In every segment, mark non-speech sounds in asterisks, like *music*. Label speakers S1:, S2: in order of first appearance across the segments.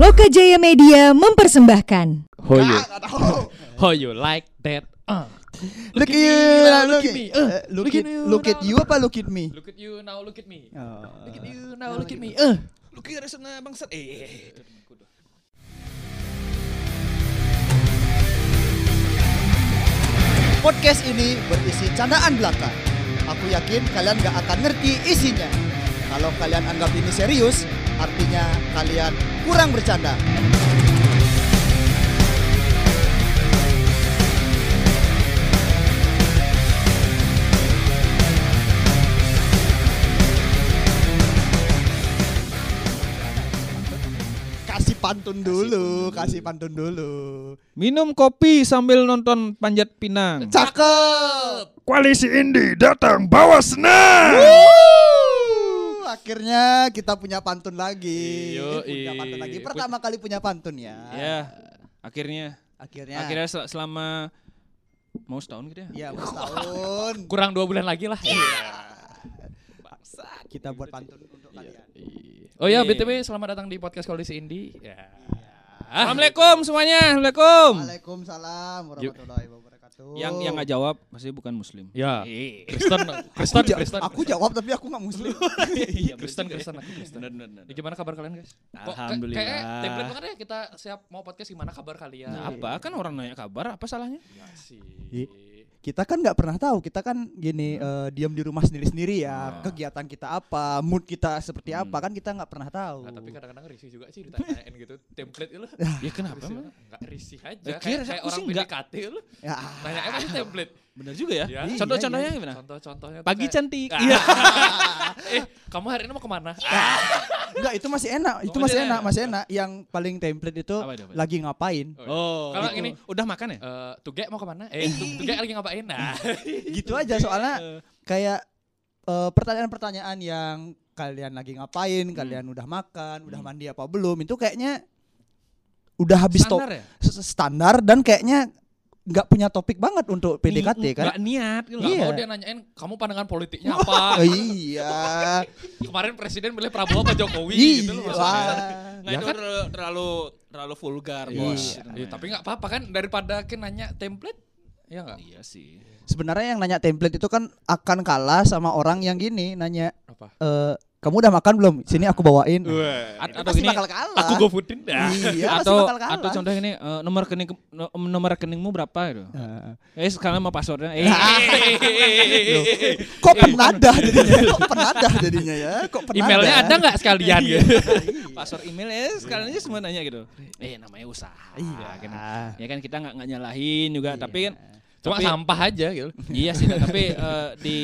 S1: Oka Jaya Media mempersembahkan.
S2: How you?
S3: Gak tahu.
S2: How you like that? Uh.
S3: Look at you, now, look at me. Eh, Look at look at you apa look at me?
S2: Look at you now, look at me.
S3: Oh.
S2: Look at you
S4: Ah.
S2: now, look at me. Eh,
S5: Lu kira sana bangsat eh.
S3: Podcast ini berisi candaan belaka. Aku yakin kalian gak akan ngerti isinya. Kalau kalian anggap ini serius, artinya kalian kurang bercanda. Kasih pantun dulu, kasih pantun dulu.
S5: Minum kopi sambil nonton Panjat Pinang.
S3: Cakep.
S6: Koalisi Indi datang bawa
S4: Ah.
S6: senang.
S3: Wuh, Akhirnya kita punya pantun lagi. Eh,
S2: Iyo,
S3: punya pantun
S2: i-
S3: lagi. Pertama kali punya pantun ya.
S2: Ya, akhirnya
S3: Akhirnya.
S2: akhirnya sel- selama mau setahun gitu ya.
S3: Ya, mas
S2: *laughs*
S3: tahun.
S2: Kurang dua bulan lagi lah.
S3: Kita buat pantun untuk
S2: Iya.
S3: kalian.
S4: Oh ya, BTW selamat datang di podcast Koalisi Indi. Ya.
S2: Assalamualaikum
S5: Ya,
S2: semuanya. Assalamualaikum.
S3: Waalaikumsalam warahmatullahi wabarakatuh.
S2: Yang yang nggak jawab pasti bukan muslim. Iya,
S4: Ya.
S2: *laughs*
S4: Kristen, Kristen,
S3: Aku ja-
S4: Kristen.
S3: Aku jawab tapi aku nggak muslim.
S4: Iya, Kristen, Kristen, aku Kristen.
S2: ya. Bener, bener,
S4: Ya,
S2: bener.
S4: gimana kabar kalian, guys? Kok ke-
S2: Alhamdulillah.
S4: Kayak template banget ya kita siap mau podcast gimana kabar kalian.
S2: Nah, apa kan orang nanya kabar apa salahnya?
S4: sih?
S3: kita kan nggak pernah tahu. Kita kan gini
S2: Iya.
S3: eh, diam di rumah sendiri-sendiri ya. Kegiatan kita apa, mood kita seperti apa
S2: Hmm.
S3: kan kita nggak pernah tahu.
S4: Nah, tapi
S2: kan-
S4: kadang-kadang risih juga sih ditanyain gitu template lu.
S2: Ya kenapa?
S4: Risih
S2: emang?
S4: banget. Nggak risih aja
S2: Ya, kira
S4: kayak,
S2: aku
S4: kayak
S2: sih
S4: orang
S2: nggak. Ah.
S4: PDKT lu.
S2: *laughs*
S3: Ya.
S4: Nanya apa sih template?
S2: Bener juga ya.
S4: Iya.
S2: Contoh-contohnya gimana?
S4: Contoh-contohnya tuh
S2: Pagi
S4: kayak,
S2: cantik.
S4: Ah.
S2: Iya. Ah.
S4: Eh, kamu hari ini mau kemana?
S3: Enggak, itu masih enak. Itu
S4: Oh,
S3: masih
S4: iya.
S3: enak, masih enak. Yang paling template itu
S2: Apa itu, apa itu?
S3: lagi ngapain?
S2: Oh.
S4: Kalau
S2: gitu.
S4: gini.
S2: udah makan ya?
S4: Eh, Tuge mau kemana? Eh, Tuge lagi ngapain? Nah,
S3: Gitu
S2: Iya.
S3: aja soalnya kayak eh, pertanyaan-pertanyaan yang kalian lagi ngapain,
S2: Hmm.
S3: kalian udah makan, udah mandi apa belum? Itu kayaknya udah habis top
S2: Standar ya?
S3: standar dan kayaknya nggak punya topik banget untuk PDKT kan?
S2: Nggak niat gitu.
S4: Gak
S3: Iya.
S4: mau dia nanyain kamu pandangan politiknya apa?
S3: Oh,
S2: *laughs*
S3: iya.
S4: Kemarin presiden milih Prabowo apa Jokowi gitu loh
S3: Iya.
S4: maksudnya.
S2: Nah, itu terlalu, terlalu terlalu vulgar,
S3: Iya.
S2: Bos. Gitu
S4: Ya
S3: Iya,
S4: kan? Iya, tapi nggak apa-apa kan daripada kan nanya template ya nggak?
S2: iya sih.
S3: Sebenarnya yang nanya template itu kan akan kalah sama orang yang gini nanya
S4: Apa?
S3: eh, kamu udah makan belum? Sini aku bawain.
S2: A- atau
S3: Eh, Pasti
S2: gini,
S3: bakal kalah.
S4: Aku go foodin dah.
S3: Iya, pasti
S2: atau
S3: bakal kalah.
S2: atau contoh gini, eh, nomor rekening no- nomor rekeningmu berapa
S3: *laughs*
S2: gitu.
S3: Eh,
S2: Eh, sekarang sama passwordnya. Eh,
S3: *laughs* loh, kok penadah jadinya? Kok penadah jadinya ya? Kok penadah?
S4: Emailnya ada nggak sekalian gitu?
S2: password email eh sekarang aja semua nanya gitu. Eh, namanya usaha.
S3: Iya.
S2: Kan. Ya kan kita nggak nggak nyalahin juga, tapi kan
S4: Cuma
S2: tapi-
S4: sampah aja gitu.
S2: Iya sih, tapi eh, di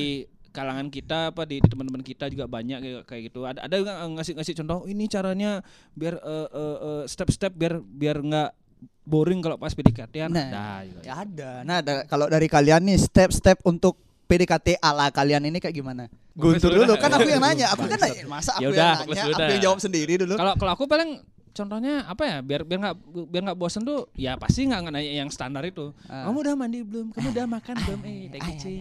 S2: kalangan kita apa di, di teman-teman kita juga banyak kayak, kayak gitu. Ada ada nggak, eh, ngasih-ngasih contoh ini caranya biar eh, eh, eh, step-step biar biar nggak boring kalau pas PDKT-an.
S3: Nah,
S2: Ada juga.
S3: Ya ada. Nah, ada- kalau dari kalian nih step-step untuk PDKT ala kalian ini kayak gimana? Guntur
S4: sudah.
S3: dulu, kan aku yang nanya. Aku kan nanya, masa aku
S2: Ya udah,
S3: yang nanya,
S4: sudah.
S3: aku yang jawab sendiri dulu.
S2: Kalau kalau aku paling contohnya apa ya biar biar nggak biar nggak bosen tuh ya pasti nggak nggak nanya yang standar itu
S3: Ah. iya,
S2: kamu udah mandi belum kamu
S3: *laughs*
S2: udah makan belum eh thank you, Ci.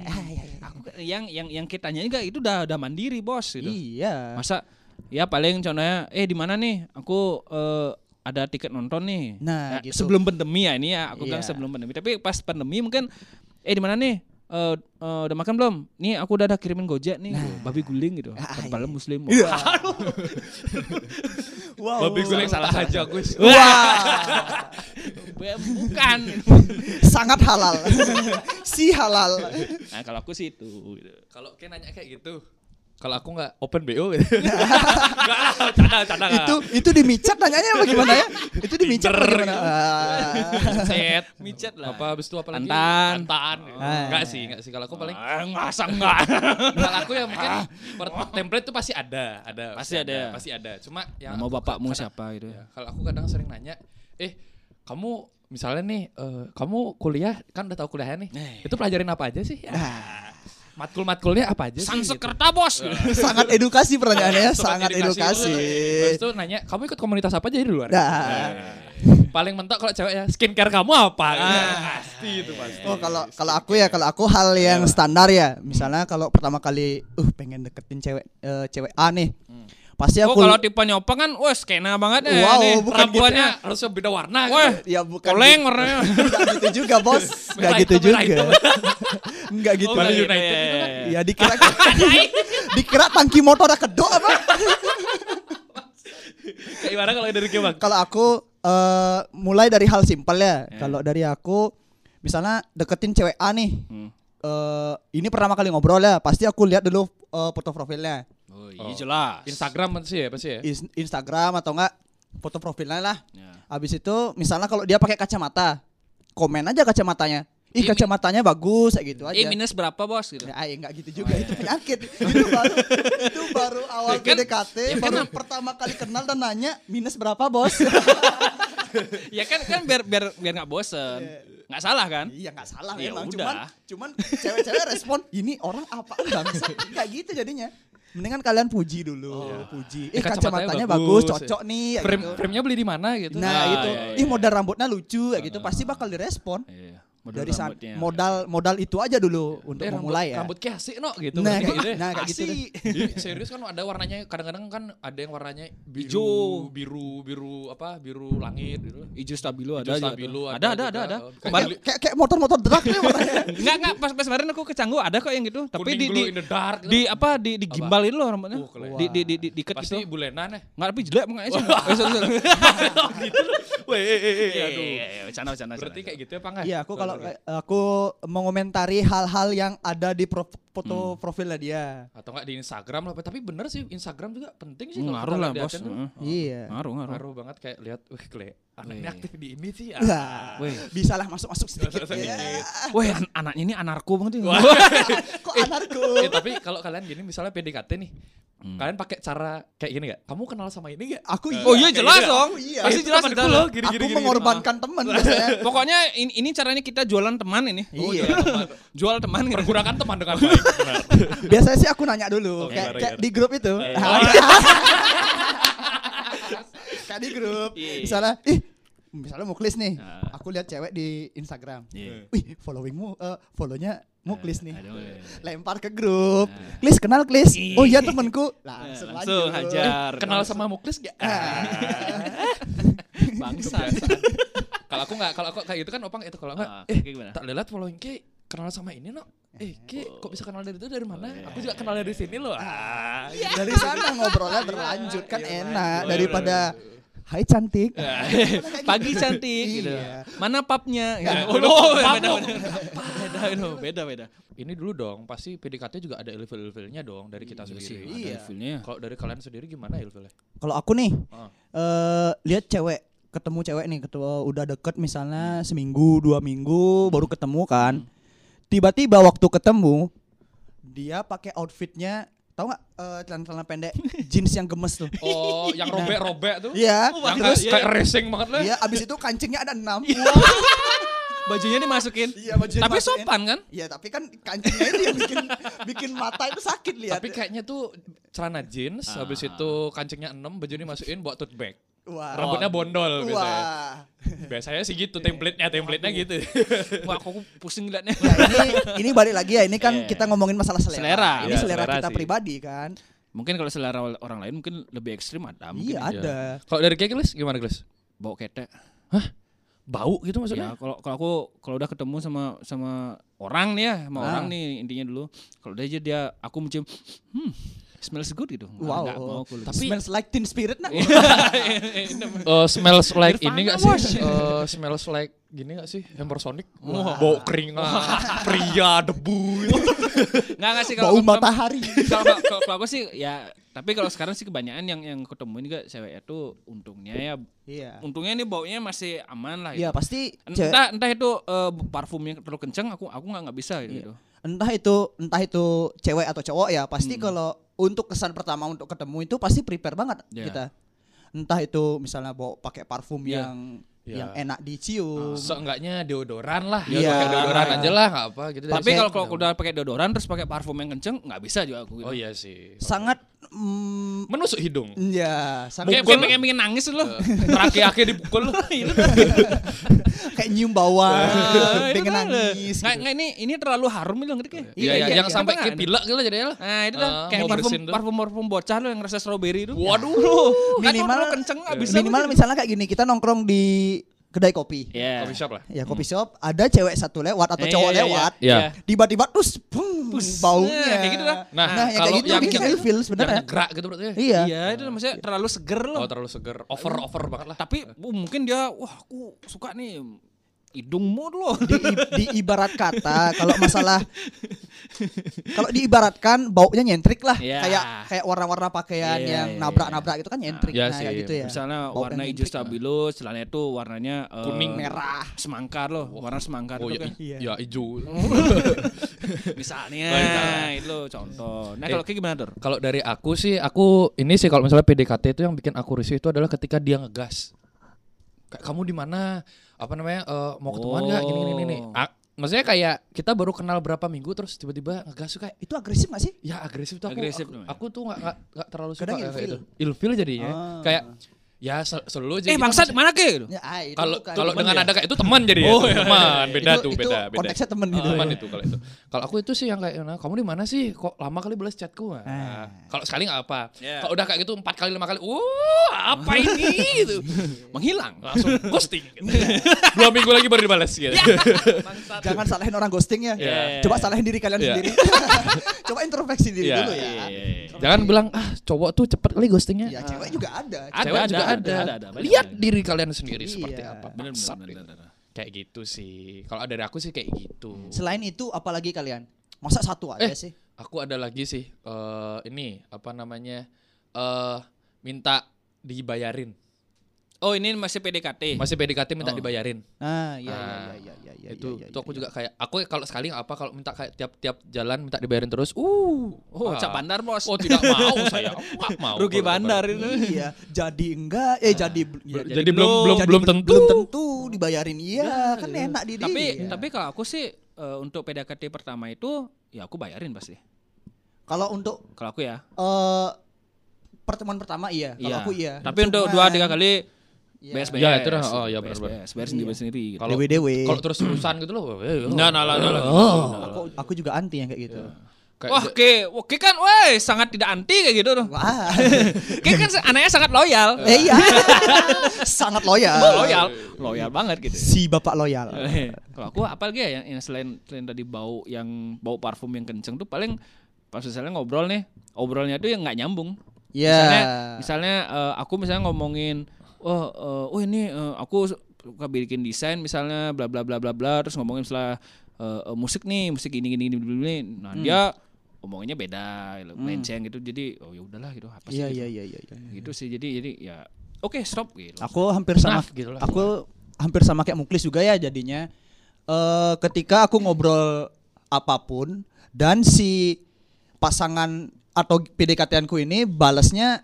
S2: aku kan- yang yang yang kita tanyain nggak itu udah udah mandiri bos gitu
S3: Iya.
S2: masa ya paling contohnya eh di mana nih aku eh, ada tiket nonton nih
S3: Nah, gitu.
S2: sebelum pandemi ya ini ya aku bilang
S3: Iya.
S2: sebelum pandemi tapi pas pandemi mungkin eh di mana nih Eh, eh, udah makan belum? Nih aku udah ada kirimin gojek nih,
S3: Nah.
S2: babi guling gitu.
S3: Ah, iya.
S2: Padahal muslim.
S3: Wow.
S4: Babi guling salah aja gue.
S3: *laughs* Wah,
S2: Bukan.
S3: sangat halal. *laughs* si halal.
S2: nah kalau aku sih itu. Gitu.
S4: Kalau kayak nanya kayak gitu, kalau aku nggak open BO gitu. Nggak lah, canda, canda. nggak.
S3: itu itu di micat nanyanya apa gimana ya? Itu di micat apa
S4: Tinder
S3: gimana?
S4: gitu.
S3: Ah.
S4: Cet,
S2: Micet lah.
S4: apa habis itu apa lagi?
S2: Antan.
S4: Antaan.
S3: Ah.
S4: Enggak sih, enggak sih. Kalau aku paling
S2: Ah, masa enggak?
S4: kalau aku ya mungkin per- template tuh pasti ada, ada.
S2: Ah. Pasti ada.
S4: Pasti ada. Cuma yang
S2: Nah, Mau
S4: aku-
S2: bapakmu
S4: kadang-
S2: siapa gitu.
S4: ya, kalau aku kadang sering nanya, "Eh, kamu misalnya nih, eh, kamu kuliah kan udah tahu kuliahnya nih.
S2: Eh. Nah.
S4: Itu pelajarin apa aja sih?" Matkul-matkulnya apa aja sih? gitu.
S2: Sansekerta bos.
S3: Ah, sangat edukasi pertanyaannya,
S4: Sobat
S3: sangat edukasi.
S4: Terus tuh nanya, "Kamu ikut komunitas apa aja di luar?"
S3: Nah.
S4: Paling mentok kalau cewek ya, skincare kamu apa?
S2: Ah.
S4: Gitu. Pasti itu pasti.
S3: Oh kalau kalau aku ya kalau aku hal yang standar ya misalnya kalau pertama kali uh pengen deketin cewek eh, cewek A nih pasti
S2: oh
S3: aku
S2: kalau tipe nyopang kan wah skena banget ya
S3: Wow,
S2: nih.
S3: bukan gitu.
S2: Ramuannya,
S4: Warnanya harusnya beda warna. gitu.
S2: wah
S3: *laughs* ya bukan
S2: koleng
S3: *laughs*
S2: warnanya
S3: Enggak gitu juga,
S2: *laughs*
S3: Bos. Enggak
S4: Merah
S3: gitu
S4: hitam, merah
S3: juga. *laughs*
S4: hitam.
S3: Enggak gitu.
S4: kan. Bali
S2: iya,
S4: United
S2: iya,
S4: itu kan.
S2: iya, iya.
S3: Ya
S2: *laughs*
S3: dikira dikira tangki motor ada kedok apa? *laughs*
S4: Kayak gimana kalau dari Kebang?
S3: Kalau aku eh, mulai dari hal simpel ya. Kalau dari aku misalnya deketin cewek A nih. Eh, ini pertama kali ngobrol ya, pasti aku lihat dulu eh, foto profilnya.
S2: oh iya jelas
S4: Instagram sih ya pasti ya.
S3: Is- Instagram atau enggak foto profilnya lah.
S2: Ya.
S3: Habis itu misalnya kalau dia pakai kacamata, komen aja kacamatanya.
S4: Iya,
S3: Ih kacamatanya bagus kayak gitu aja.
S2: eh minus berapa bos gitu
S3: Ya, ay, enggak gitu juga itu penyakit. itu baru itu baru awal
S4: Oh, iya. Ya kan?
S3: PDKT,
S4: Ya kan?
S3: baru pertama kali kenal dan nanya minus berapa,
S4: *laughs*
S3: Bos?
S2: ya kan kan biar biar biar nggak bosen nggak salah kan
S3: iya, enggak salah
S2: Ya
S3: memang, cuman
S2: udah.
S3: cuman cewek-cewek respon, "Ini orang apaan, Bangsa?" Enggak gitu jadinya. Mendingan kalian puji dulu, puji.
S4: Eh,
S3: Eh,
S4: kacamatanya
S3: kacamatanya bagus,
S4: bagus,
S3: cocok nih kayak
S4: Frame,
S3: gitu.
S4: frame-nya beli di mana gitu.
S3: Nah,
S2: Ah,
S3: itu.
S2: iya, iya,
S3: Ih, modal rambutnya lucu kayak gitu, pasti bakal direspon.
S2: Iya,
S3: Dari sa- modal modal itu aja dulu untuk
S4: Eh, rambut,
S3: memulai ya.
S4: rambut kayak asik no gitu. berarti
S3: Nah, kayak-
S4: gitu ya.
S3: nah, kayak gitu
S4: Asik.
S3: deh.
S4: Ih, Serius kan ada warnanya kadang-kadang kan ada yang warnanya biru,
S2: Hijau.
S4: biru, biru apa? Biru langit gitu.
S2: Ijo stabilo ada
S4: Ijo
S2: juga
S4: stabilo
S2: tuh.
S4: ada
S2: ada ada
S4: juga.
S2: ada, ada.
S4: Oh, bukan
S2: Kemarin-
S4: beli-
S3: Kayak kayak motor-motor
S2: *laughs*
S3: drag nih warnanya.
S2: Enggak enggak pas pas kemarin aku ke Canggu ada kok yang gitu. Tapi
S4: Kuning
S2: di
S4: glow
S2: di,
S4: in the dark gitu.
S2: di apa Uh, di di gimbal itu loh rambutnya.
S4: Oh, kelihatan.
S2: di di di di diket
S4: Pasti
S2: gitu.
S4: bulenan ya.
S2: Enggak tapi jelek mukanya *laughs* sih. Eh, sorry, sorry.
S4: Weh, eh, eh, eh,
S2: Iya,
S4: aduh.
S2: iya, iya, bercanda, bercanda,
S4: Berarti
S2: bercanda.
S4: kayak gitu ya, Pak? nggak?
S3: Iya,
S2: eh,
S3: aku kalau
S4: Sorry, sorry.
S3: aku mengomentari hal-hal yang ada di pro-
S2: Hmm.
S3: foto profilnya dia.
S4: atau enggak di Instagram lah, tapi bener sih Instagram juga penting sih
S2: Hmm,
S4: kalau
S2: ngaruh
S4: kita
S2: lah
S4: liatin
S2: bos.
S4: tuh.
S2: Heeh.
S3: Iya.
S2: Ngaruh oh, ngaruh.
S4: Ngaruh banget kayak lihat, wih, kle, anaknya
S2: Weh.
S4: aktif di ini sih. ah.
S3: Lah,
S2: Weh.
S3: bisa lah masuk-masuk sedikit.
S4: Sedikit.
S3: Ya,
S2: Weh, an- anaknya ini anarko banget ya.
S3: *laughs* Kok anarko?
S4: Eh, tapi kalau kalian gini misalnya PDKT nih, kalian pakai cara kayak gini gak? Kamu kenal sama ini gak?
S3: Aku iya.
S2: *laughs* Oh iya jelas
S4: iya.
S2: dong.
S3: Aku iya.
S2: Pasti
S4: Itu
S2: jelas
S4: temanku
S2: jelas.
S4: loh,
S3: aku mengorbankan
S2: Ah.
S3: temen biasanya.
S2: Pokoknya ini, ini caranya kita jualan teman ini. Oh,
S3: Iya.
S2: jualan teman. Jual teman gitu.
S4: Pergunakan teman dengan baik. Benar.
S3: Biasanya sih aku nanya dulu
S4: Oke,
S3: kayak,
S4: baru
S3: kayak
S4: ingat.
S3: di grup itu. *laughs*
S4: Oh.
S3: kayak di grup.
S2: Iya.
S3: Misalnya, ih misalnya Muklis nih, aku lihat cewek di Instagram.
S2: Iya.
S3: Wih, followingmu, eh follownya Muklis nih.
S2: Aduh, iya.
S3: Lempar ke grup. Klis kenal Klis. Oh iya temanku. Langsung,
S2: Nah, Langsung
S3: lanjut. *laughs* Ah.
S2: hajar. Eh,
S4: Kenal sama Muklis gak?
S2: bangsa.
S4: kalau aku gak, kalau aku kayak gitu kan opang itu kalau enggak,
S2: Ah,
S4: eh
S2: kayak gimana?
S4: tak lelat following Ki, kenal sama ini no. Eh, Ki, kok bisa kenal dari itu dari mana? Aku juga kenal dari sini loh. Ah,
S3: Dari sana ngobrolnya berlanjut kan enak daripada Hai cantik.
S2: Pagi cantik gitu.
S3: Iya.
S2: Mana papnya? Gitu.
S4: Nah,
S2: Oh,
S4: no, pap
S2: beda,
S4: no.
S2: beda, beda, beda, beda, beda.
S4: Ini dulu dong, pasti PDKT juga ada ilfil-ilfilnya dong dari kita sendiri.
S3: Iya.
S2: Feelnya.
S4: Kalau dari kalian sendiri gimana ilfilnya?
S3: Kalau aku nih
S4: Ah.
S3: eh lihat cewek ketemu cewek nih ketua udah deket misalnya seminggu dua minggu baru ketemu kan
S4: Hmm.
S3: tiba-tiba waktu ketemu dia pakai outfitnya tahu nggak eh, celana-celana
S4: *laughs*
S3: pendek jeans yang gemes tuh
S4: Oh, yang robek-robek tuh.
S3: iya
S4: Yang
S3: terus
S4: kayak kayak racing banget lah.
S3: iya abis itu kancingnya ada enam
S4: Iya.
S2: Bajunya dimasukin.
S3: Iya, bajunya
S2: Tapi
S3: dimasukin.
S2: sopan kan?
S3: Iya tapi kan kancingnya itu yang bikin bikin mata itu sakit lihat.
S4: Tapi kayaknya tuh celana jeans, habis itu kancingnya 6, baju dimasukin buat tote bag.
S3: wah,
S4: Rambutnya bondol biasanya.
S3: wah.
S4: Biasanya sih gitu template-nya, template-nya gitu.
S2: Wah, aku pusing liatnya.
S3: Ya, ini ini balik lagi ya ini kan
S2: Iya.
S3: kita ngomongin masalah selera.
S2: Selera,
S3: Ini
S4: iya,
S3: selera,
S4: selera
S3: kita
S4: sih.
S3: pribadi kan.
S2: Mungkin kalau selera orang lain mungkin lebih ekstrim ada.
S3: iya
S2: Mungkin
S3: ada.
S4: *laughs* Kalau dari kayak Glis gimana Glis?
S2: bau ketek.
S4: Bau gitu
S2: Ya
S4: *laughs* maksudnya?
S2: kalau kalau aku kalau udah ketemu sama sama orang nih ya, sama
S3: Ah.
S2: orang nih intinya dulu. Kalau udah aja dia aku mencium hmm smells good gitu.
S3: Wow.
S2: Nggak mau aku Iya. lebih.
S3: Tapi smells like teen spirit nak.
S4: Eh, smells like
S2: Nirvana
S4: ini gak
S2: wash.
S4: sih? Eh, smells like gini gak sih? Hampersonic? Bau keringat, pria, debu. *laughs* gitu.
S2: Enggak enggak sih
S3: Bau
S2: kalau kalau-
S3: matahari.
S2: *laughs* kalau kalau- kalau aku sih ya tapi kalau sekarang sih kebanyakan yang yang ketemuin juga ceweknya tuh untungnya ya
S3: *laughs* Iya.
S2: untungnya ini baunya masih aman lah
S3: Iya
S2: gitu.
S3: pasti cewek-
S2: entah entah itu eh, parfumnya terlalu kenceng aku aku nggak nggak bisa gitu.
S3: Iya. entah itu entah itu cewek atau cowok ya
S2: Hmm.
S3: pasti kalau untuk kesan pertama untuk ketemu itu pasti prepare banget
S2: Iya.
S3: kita. Entah itu misalnya bawa pakai parfum
S2: Iya. Ah.
S3: yang
S4: Iya.
S3: yang enak dicium.
S4: Seenggaknya deodoran lah.
S3: Iya.
S4: Ya, pakai deodoran aja lah, gak apa gitu.
S2: Tapi
S4: Dari-
S2: kalau kalau udah pakai deodoran terus pakai parfum yang kenceng nggak bisa juga aku gitu.
S4: Oh iya sih.
S3: sangat mm,
S4: Menusuk hidung.
S3: Ya, sangat
S4: Iya.
S2: Kayak kayak pengen, pengen nangis lu.
S4: *laughs* Terakhir akhir dipukul lu.
S3: kayak nyium
S2: *laughs*
S3: bawah,
S2: Ah, itu
S3: pengen
S2: kan.
S3: nangis.
S2: Nggak,
S3: gitu.
S2: nggak, ini ini terlalu harum itu ngerti kayak.
S4: Iya, iya, yang sampai
S2: Apa
S4: ke
S2: nggak?
S4: pilek gitu lah jadinya lah.
S2: Nah itu dah
S4: Ah,
S2: kayak
S4: mau
S2: parfum
S4: bersin tuh.
S2: parfum parfum bocah lo yang rasa strawberry itu.
S4: Waduh.
S2: minimal
S3: Minimal-
S2: kenceng abis
S3: Minimal misalnya kayak gini, kita nongkrong di kedai kopi.
S2: Ya.
S4: Coffee shop lah.
S3: Ya kopi shop, ada cewek satu lewat atau
S2: Eh,
S3: cowok
S2: iya, iya,
S3: lewat.
S4: Iya.
S3: Tiba-tiba terus bung, baunya.
S2: Nah, kayak gitu dah.
S4: Nah,
S3: Nah, yang
S4: kalau
S3: kayak gitu
S4: yang
S3: bikin
S4: yang,
S3: saya feel sebenarnya.
S4: yang gerak gitu berarti. ya?
S3: Iya.
S2: Iya itu maksudnya terlalu seger loh.
S4: Oh, terlalu seger. Over over banget lah.
S2: Tapi bu, mungkin dia wah aku suka nih hidungmu dulu.
S3: Di- di ibarat kata kalau masalah kalau diibaratkan baunya nyentrik lah
S2: Ya.
S3: kayak kayak warna-warna pakaian
S2: Iya,
S3: yang
S2: iya,
S3: nabrak-nabrak itu kan nyentrik
S4: Iya
S3: nah, kayak
S4: sih.
S3: gitu ya
S2: Misalnya
S3: Baunya
S2: warna hijau
S3: nyentrik.
S2: stabilo, selannya itu warnanya eh,
S4: Kuning.
S3: merah
S2: semangka loh, warna semangka
S4: Oh
S2: itu
S4: ya, *laughs*
S2: kan.
S3: Iya.
S4: i- ya
S3: *laughs*
S4: hijau.
S2: Misalnya
S4: Oh, misalnya.
S2: itu loh contoh. Nah
S4: Eh.
S2: kalau kayak gimana Dor?
S4: Kalau dari aku sih, aku ini sih kalau misalnya PDKT itu yang bikin aku risih itu adalah ketika dia ngegas. Kayak kamu di mana? Apa namanya? eh, mau ketemuan nggak? Gini gini gini.
S2: Oh.
S4: Ah, maksudnya kayak kita baru kenal berapa minggu terus tiba-tiba ngegas tuh kayak
S3: itu agresif gak sih
S4: ya agresif tuh aku.
S2: Agresif
S4: aku,
S2: namanya.
S4: aku tuh nggak nggak- nggak terlalu suka
S3: Kadang
S4: ya kayak
S3: ilfil.
S4: itu. Ilfil jadinya.
S3: Ah.
S4: Kayak ya sel- selalu aja.
S2: Eh
S4: kita
S2: bangsa
S4: masih-
S2: mana ke?
S3: Ya, ah, itu
S4: kalau
S3: bukan.
S4: kalau
S3: Temen
S4: dengan
S3: ya.
S4: ada kayak itu teman jadi ya,
S2: Oh,
S4: itu
S2: iya,
S4: teman beda
S3: Itu-
S4: tuh
S3: itu
S4: beda beda
S3: konteksnya temen gitu
S4: teman
S3: ya.
S4: itu kalau itu kalau aku itu sih yang kayak "Nah, kamu di mana sih kok lama kali balas chatku Nah,
S2: Eh.
S3: Ah.
S4: kalau sekali nggak apa
S2: Iya.
S4: kalau udah kayak gitu empat kali lima kali uh
S2: *laughs*
S4: apa ini gitu
S2: Menghilang.
S4: langsung
S2: *laughs*
S4: ghosting gitu. dua minggu lagi baru dibalas gitu
S3: Iya. jangan salahin orang ghosting ya
S4: Iya.
S3: coba salahin diri kalian
S4: Iya. *laughs*
S3: sendiri coba introspeksi diri
S4: Iya.
S3: dulu ya
S4: jangan bilang ah cowok tuh cepet kali ghostingnya
S3: ya cewek juga ada
S2: Ada,
S4: Cewek
S2: ada,
S4: juga
S2: ada,
S4: ada,
S2: ada, ada, banyak,
S4: lihat
S2: banyak.
S4: diri kalian sendiri
S3: Iya.
S4: seperti apa
S2: Bener,
S4: Bangsat
S2: bener,
S4: gitu.
S2: bener, bener.
S4: kayak gitu sih kalau dari aku sih kayak gitu
S3: selain itu apalagi kalian masa satu aja
S4: Eh.
S3: sih
S4: Aku ada lagi sih eh ini apa namanya eh minta dibayarin.
S2: Oh ini masih PDKT.
S4: Masih PDKT minta
S2: Oh.
S4: dibayarin.
S3: ah iya
S4: Ah,
S3: iya iya iya iya
S4: itu
S3: iya,
S4: itu aku
S3: iya.
S4: juga kayak aku kalau sekali nggak apa kalau minta kayak tiap-tiap jalan minta dibayarin terus. Uh, ah.
S2: Oh, cap bandar bos.
S4: Oh, tidak
S3: *laughs*
S4: mau saya. Aku nggak mau.
S2: *laughs* Rugi
S4: kalau
S2: bandar
S4: dibayarin.
S2: itu.
S3: iya jadi enggak eh jadi ya,
S4: Ah. Jadi, belum belum
S3: Jadi
S4: belum
S3: bel-
S4: tentu.
S3: belum tentu dibayarin iya kan enak di
S2: Tapi
S3: dia.
S2: tapi kalau aku sih eh, untuk PDKT pertama itu ya aku bayarin pasti.
S3: kalau untuk
S2: Kalau aku ya.
S3: eh, pertemuan pertama iya kalau aku iya
S2: Tapi untuk dua tiga kali
S3: Iya.
S2: beres beres.
S4: Ya, itu dah. Oh, ya, benar, benar.
S2: beres beres sendiri beres sendiri. gitu.
S4: Kalau
S3: Dewe dewe
S4: kalau terus urusan gitu loh.
S2: Nah, nah, nah, nah, nah.
S3: aku, aku juga anti yang kayak gitu
S4: Kayak
S2: Wah, oke, oke kan, woi sangat tidak anti kayak gitu loh.
S3: wah
S2: Oke kan se- anaknya sangat loyal.
S3: eh, *laughs* iya sangat loyal
S2: Oh, loyal, Eh, loyal banget gitu.
S3: si bapak loyal
S2: Kalau aku apa lagi ya yang, yang selain selain tadi bau yang bau parfum yang kenceng tuh paling pas misalnya ngobrol nih, obrolnya tuh yang nggak nyambung.
S3: ya
S2: Misalnya, misalnya eh, aku misalnya ngomongin, oh, eh, oh ini eh, aku suka bikin desain misalnya, bla bla bla bla bla, terus ngomongin misalnya eh, eh, musik nih, musik gini gini gini, gini, gini. nah
S3: Hmm.
S2: dia omongannya beda, gitu, melenceng gitu, jadi oh ya udahlah gitu, apa sih
S3: iya
S2: gitu.
S3: iya iya iya iya.
S2: Gitu sih, jadi jadi ya oke stop gitu.
S3: aku hampir sama
S4: Nah, gitu lah.
S3: aku hampir sama kayak Muklis juga ya jadinya eh ketika aku ngobrol apapun dan si pasangan atau PDKT-anku ini balasnya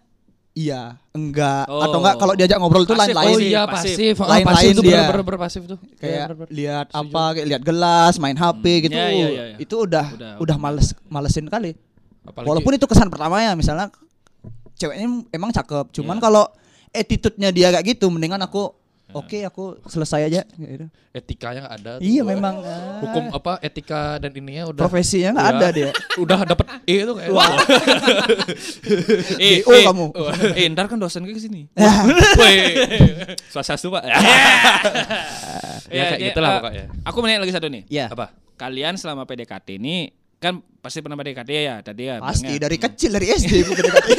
S3: iya enggak atau enggak kalau diajak ngobrol itu
S2: Pasif,
S3: lain-lain
S4: Oh iya
S2: Pasif.
S4: pasif, Ah,
S3: Lain-lain
S4: pasif tuh
S3: dia.
S4: bener-bener bener pasif tuh. Iya,
S3: kayak
S4: bener-bener.
S3: lihat apa kayak lihat gelas main HP gitu
S2: Iya, iya, iya, iya.
S3: itu udah
S2: Udah,
S3: udah, males malesin kali
S4: Apalagi-
S3: walaupun itu kesan pertama ya misalnya ceweknya emang cakep
S4: Iya.
S3: cuman kalau attitude-nya dia kayak gitu mendingan aku oke aku selesai aja kayak gitu.
S4: etikanya nggak ada. tuh.
S3: Iya memang. Ah,
S4: hukum apa etika dan ininya udah
S3: Profesinya nggak
S4: Iya.
S3: ada dia.
S4: *laughs* udah dapat E itu kayak wah
S2: eh,
S3: DO kamu.
S2: *laughs*
S3: Eh,
S2: eh, ntar kan dosen ke
S3: *laughs*
S2: sini.
S4: swasta pak ya
S2: Ya,
S4: kayak
S2: jadi,
S4: gitulah
S2: eh,
S4: pokoknya
S2: Aku menanya lagi satu nih.
S3: Ya.
S4: apa
S2: Kalian selama PDKT ini kan pasti pernah PDKT ya tadi ya.
S3: Pasti
S2: *laughs* bilangnya.
S3: dari
S4: Hmm.
S3: kecil dari SD
S4: *laughs*
S3: aku kedekatan.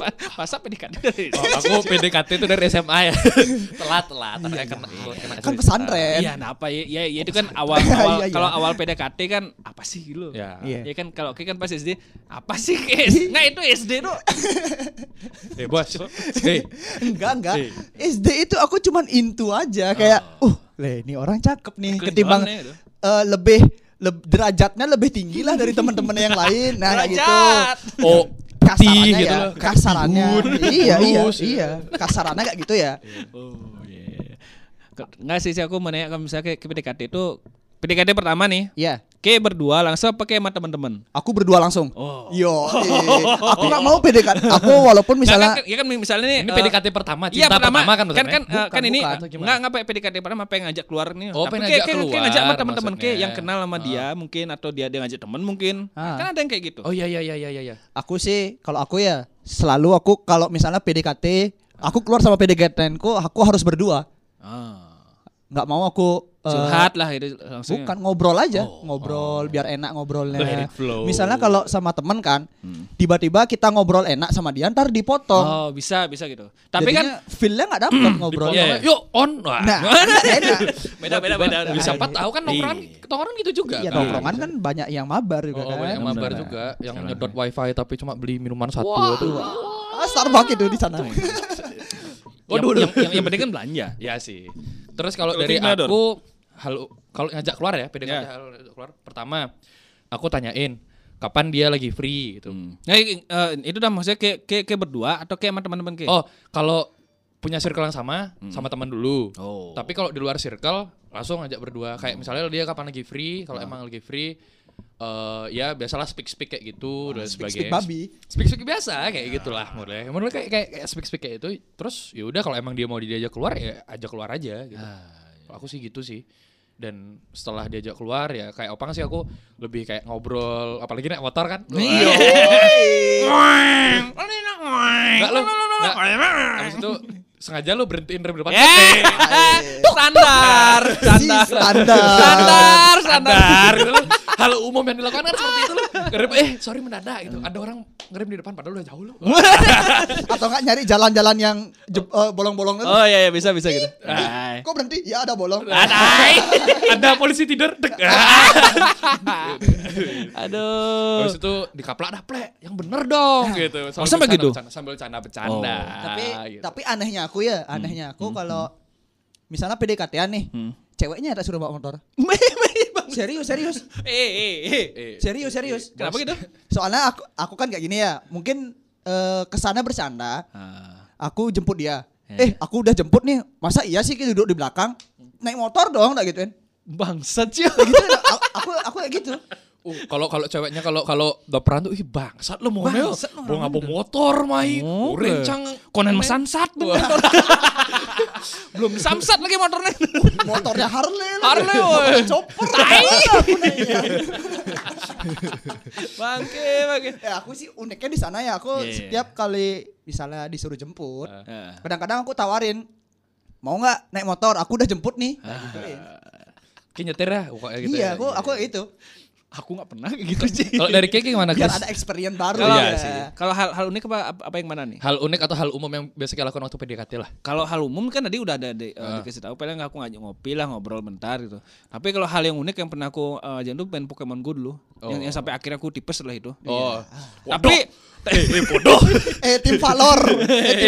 S2: Pa- Masa PDKT dari
S4: Oh, aku PDKT itu dari
S3: *laughs*
S4: SMA ya telat telat Ternyata kena, kena
S3: kan
S4: cerita.
S3: pesantren.
S2: Iya, nah apa ya? Ya, ya itu kan awal, awal
S3: *laughs* Iya, iya.
S2: kalau awal PDKT kan apa sih lo?
S4: ya
S3: Iya.
S2: Ya kan kalau kayak kan pas SD apa sih guys? Nah itu SD tuh.
S4: eh bos
S3: *laughs*
S4: eh
S3: Enggak enggak.
S4: Iya. Oh.
S3: SD itu aku cuman intu aja kayak uh le ini orang cakep nih ketimbang
S4: ya,
S2: Kelihatannya itu.
S3: eh, lebih leb- derajatnya lebih tinggi
S4: *laughs*
S3: lah dari teman-teman yang lain. Nah kayak gitu.
S2: Derajat.
S4: oh
S3: Kasarannya
S4: gitu
S3: ya,
S4: loh. Kayak
S3: kasarannya.
S4: bihun,
S3: iya iya
S4: bulus,
S3: iya. Kasarannya kayak gitu ya.
S2: Oh iya. Ke- Nggak sih sih aku menanya kalau misalnya ke ke PDKT itu PDKT pertama nih
S3: Iya.
S2: Oke berdua langsung pakai sama teman-teman.
S3: Aku berdua langsung.
S2: Oh.
S3: Yo, eh, aku nggak mau PDKT. Aku walaupun misalnya
S2: Misalnya, kan, ya kan misalnya nih,
S4: Ini
S2: eh,
S4: PDKT pertama,
S2: Iya
S4: cinta pertama,
S2: pertama,
S4: kan
S2: kan
S4: maksudnya.
S2: kan, eh,
S4: Bukan,
S2: kan ini
S4: bukan, atau gimana?
S2: nggak nggak pakai PDKT pertama pengen ngajak keluar nih.
S4: Oh, pengen
S2: kayak-
S4: ngajak
S2: kayak- kayak
S4: keluar
S2: ngajak sama teman-teman kayak
S4: maksudnya.
S2: yang kenal sama
S4: Ah.
S2: dia mungkin atau dia dia ngajak temen mungkin.
S3: Ah.
S2: Kan ada yang kayak gitu.
S4: Oh iya iya iya iya iya.
S3: aku sih kalau aku ya selalu aku kalau misalnya PDKT, aku keluar sama PDKT-ku, aku harus berdua.
S2: Ah.
S3: Nggak mau aku eh,
S2: Curhat lah itu langsung.
S3: Bukan ngobrol aja, ngobrol biar enak ngobrolnya. Misalnya kalau sama temen kan, tiba-tiba kita ngobrol enak sama dia, ntar dipotong.
S2: Oh, bisa bisa gitu. Tapi kan
S3: Jadinya feel-nya nggak dapet ngobrol.
S4: Iya, iya. Yuk on. Wah.
S2: *laughs*
S3: Nah, nggak enak.
S2: beda beda beda.
S4: Ya, siapa tahu kan nongkrongan nongkrongan gitu juga.
S3: Iya
S4: kan.
S3: nongkrongan kan banyak yang mabar juga
S4: Oh, oh,
S3: kan.
S4: banyak mabar
S2: Bener.
S4: juga ya. yang nyedot wifi tapi cuma beli minuman satu itu.
S3: Ah, Starbucks itu di sana.
S2: Yang, yang, yang, yang
S4: *laughs*
S2: penting kan belanja.
S4: Ya sih. Terus kalau
S2: Kalau
S4: dari
S2: Figma, Dor?
S4: aku halo kalau ngajak keluar ya PDKT
S2: Ya.
S4: halo, ngajak keluar pertama aku tanyain kapan dia lagi free gitu.
S2: Nah, i- eh, itu dah maksudnya kayak kayak, kayak berdua atau kayak sama teman-teman kayak.
S4: Oh, kalau punya circle yang sama sama teman dulu.
S2: Oh.
S4: Tapi kalau di luar circle langsung ngajak berdua. Kayak misalnya dia kapan lagi free, kalau emang lagi free eh ya biasalah speak speak kayak gitu dan
S3: Speak
S4: sebagainya.
S3: babi.
S4: speak speak biasa kayak gitulah menurut gue. Menurut gue kayak, kayak kayak speak speak kayak itu terus ya udah kalau emang dia mau diajak keluar ya ajak keluar aja gitu. Kalau Aku sih gitu sih. Dan setelah diajak keluar ya kayak opang sih aku lebih kayak ngobrol apalagi naik motor kan. Enggak lu. nggak. Habis itu sengaja lu berhentiin rem depan.
S2: Eh, standar,
S3: Si standar.
S2: standar, standar,
S4: Sadar
S2: standar.
S4: gitu loh. Hal umum yang dilakukan kan seperti itu loh. Ngerem eh sorry mendadak gitu. Ada orang ngerem di depan padahal udah jauh loh.
S3: *laughs* Atau nggak nyari jalan-jalan yang jeb- eh, bolong-bolong itu.
S2: Oh iya, iya bisa bisa gitu. Hai.
S3: Kok berhenti? Ya ada bolong.
S4: Ada polisi tidur. Dek.
S2: Aduh.
S4: Habis itu dikaplak dah plek, yang bener dong gitu.
S2: Oh, sampai
S4: bercanda-
S2: gitu?
S4: bercanda- sambil canda bercanda.
S3: Oh. tapi
S4: gitu.
S3: tapi anehnya aku ya, anehnya aku kalau misalnya PDKT-an nih, ceweknya ada suruh bawa motor. serius, serius.
S2: Eh, eh, eh.
S3: Serius, serius.
S2: Kenapa gitu?
S3: *laughs* Soalnya aku aku kan kayak gini ya, mungkin eh, kesana bercanda,
S2: Ah.
S3: aku jemput dia. Eh, aku udah jemput nih. Masa iya sih kita duduk di belakang? Naik motor dong, enggak gituin.
S2: Bangsat sih.
S3: Kayak gitu, aku- aku aku kayak gitu.
S4: Uh, kalau kalau ceweknya kalau kalau doperan tuh ih bangsat lo mau neo.
S2: Bangsat lo,
S4: Mau ngapa motor mai.
S2: Oh,
S4: Rencang
S2: Konan mesansat. *laughs* Belum samsat lagi motornya.
S3: Motornya Harley lah.
S2: Harley,
S3: Motornya
S2: woy.
S3: Chopper.
S2: Tai.
S3: Aku naiknya.
S2: Bangke, bangke.
S3: Ya aku sih uniknya di sana ya aku
S2: Iya. Ah.
S3: setiap kali misalnya disuruh jemput,
S2: Heeh.
S3: kadang-kadang aku tawarin mau nggak naik motor? Aku udah jemput nih. Nah,
S2: Ah.
S3: gituin.
S4: Kayak nyetir ya pokoknya gitu.
S3: iya,
S4: ya.
S3: aku aku itu
S2: Aku nggak pernah kayak gitu sih.
S4: Kalau dari Kiki gimana
S3: biar
S4: Chris?
S3: ada experience baru.
S2: Kalau
S3: ya.
S2: kalau hal hal unik apa apa- apa yang mana nih?
S4: Hal unik atau hal umum yang biasa kita lakukan waktu PDKT lah.
S2: Kalau hal umum kan tadi udah ada di, eh, dikasih tahu paling aku ngajak ngopi lah ngobrol bentar gitu. Tapi kalau hal yang unik yang pernah aku eh, ajakin tuh main Pokemon Go dulu. Yang, yang sampai akhirnya aku tipes lah itu.
S3: Iya.
S4: Oh.
S2: Tapi
S4: *laughs*
S3: Eh tim *laughs* Valor, eh tim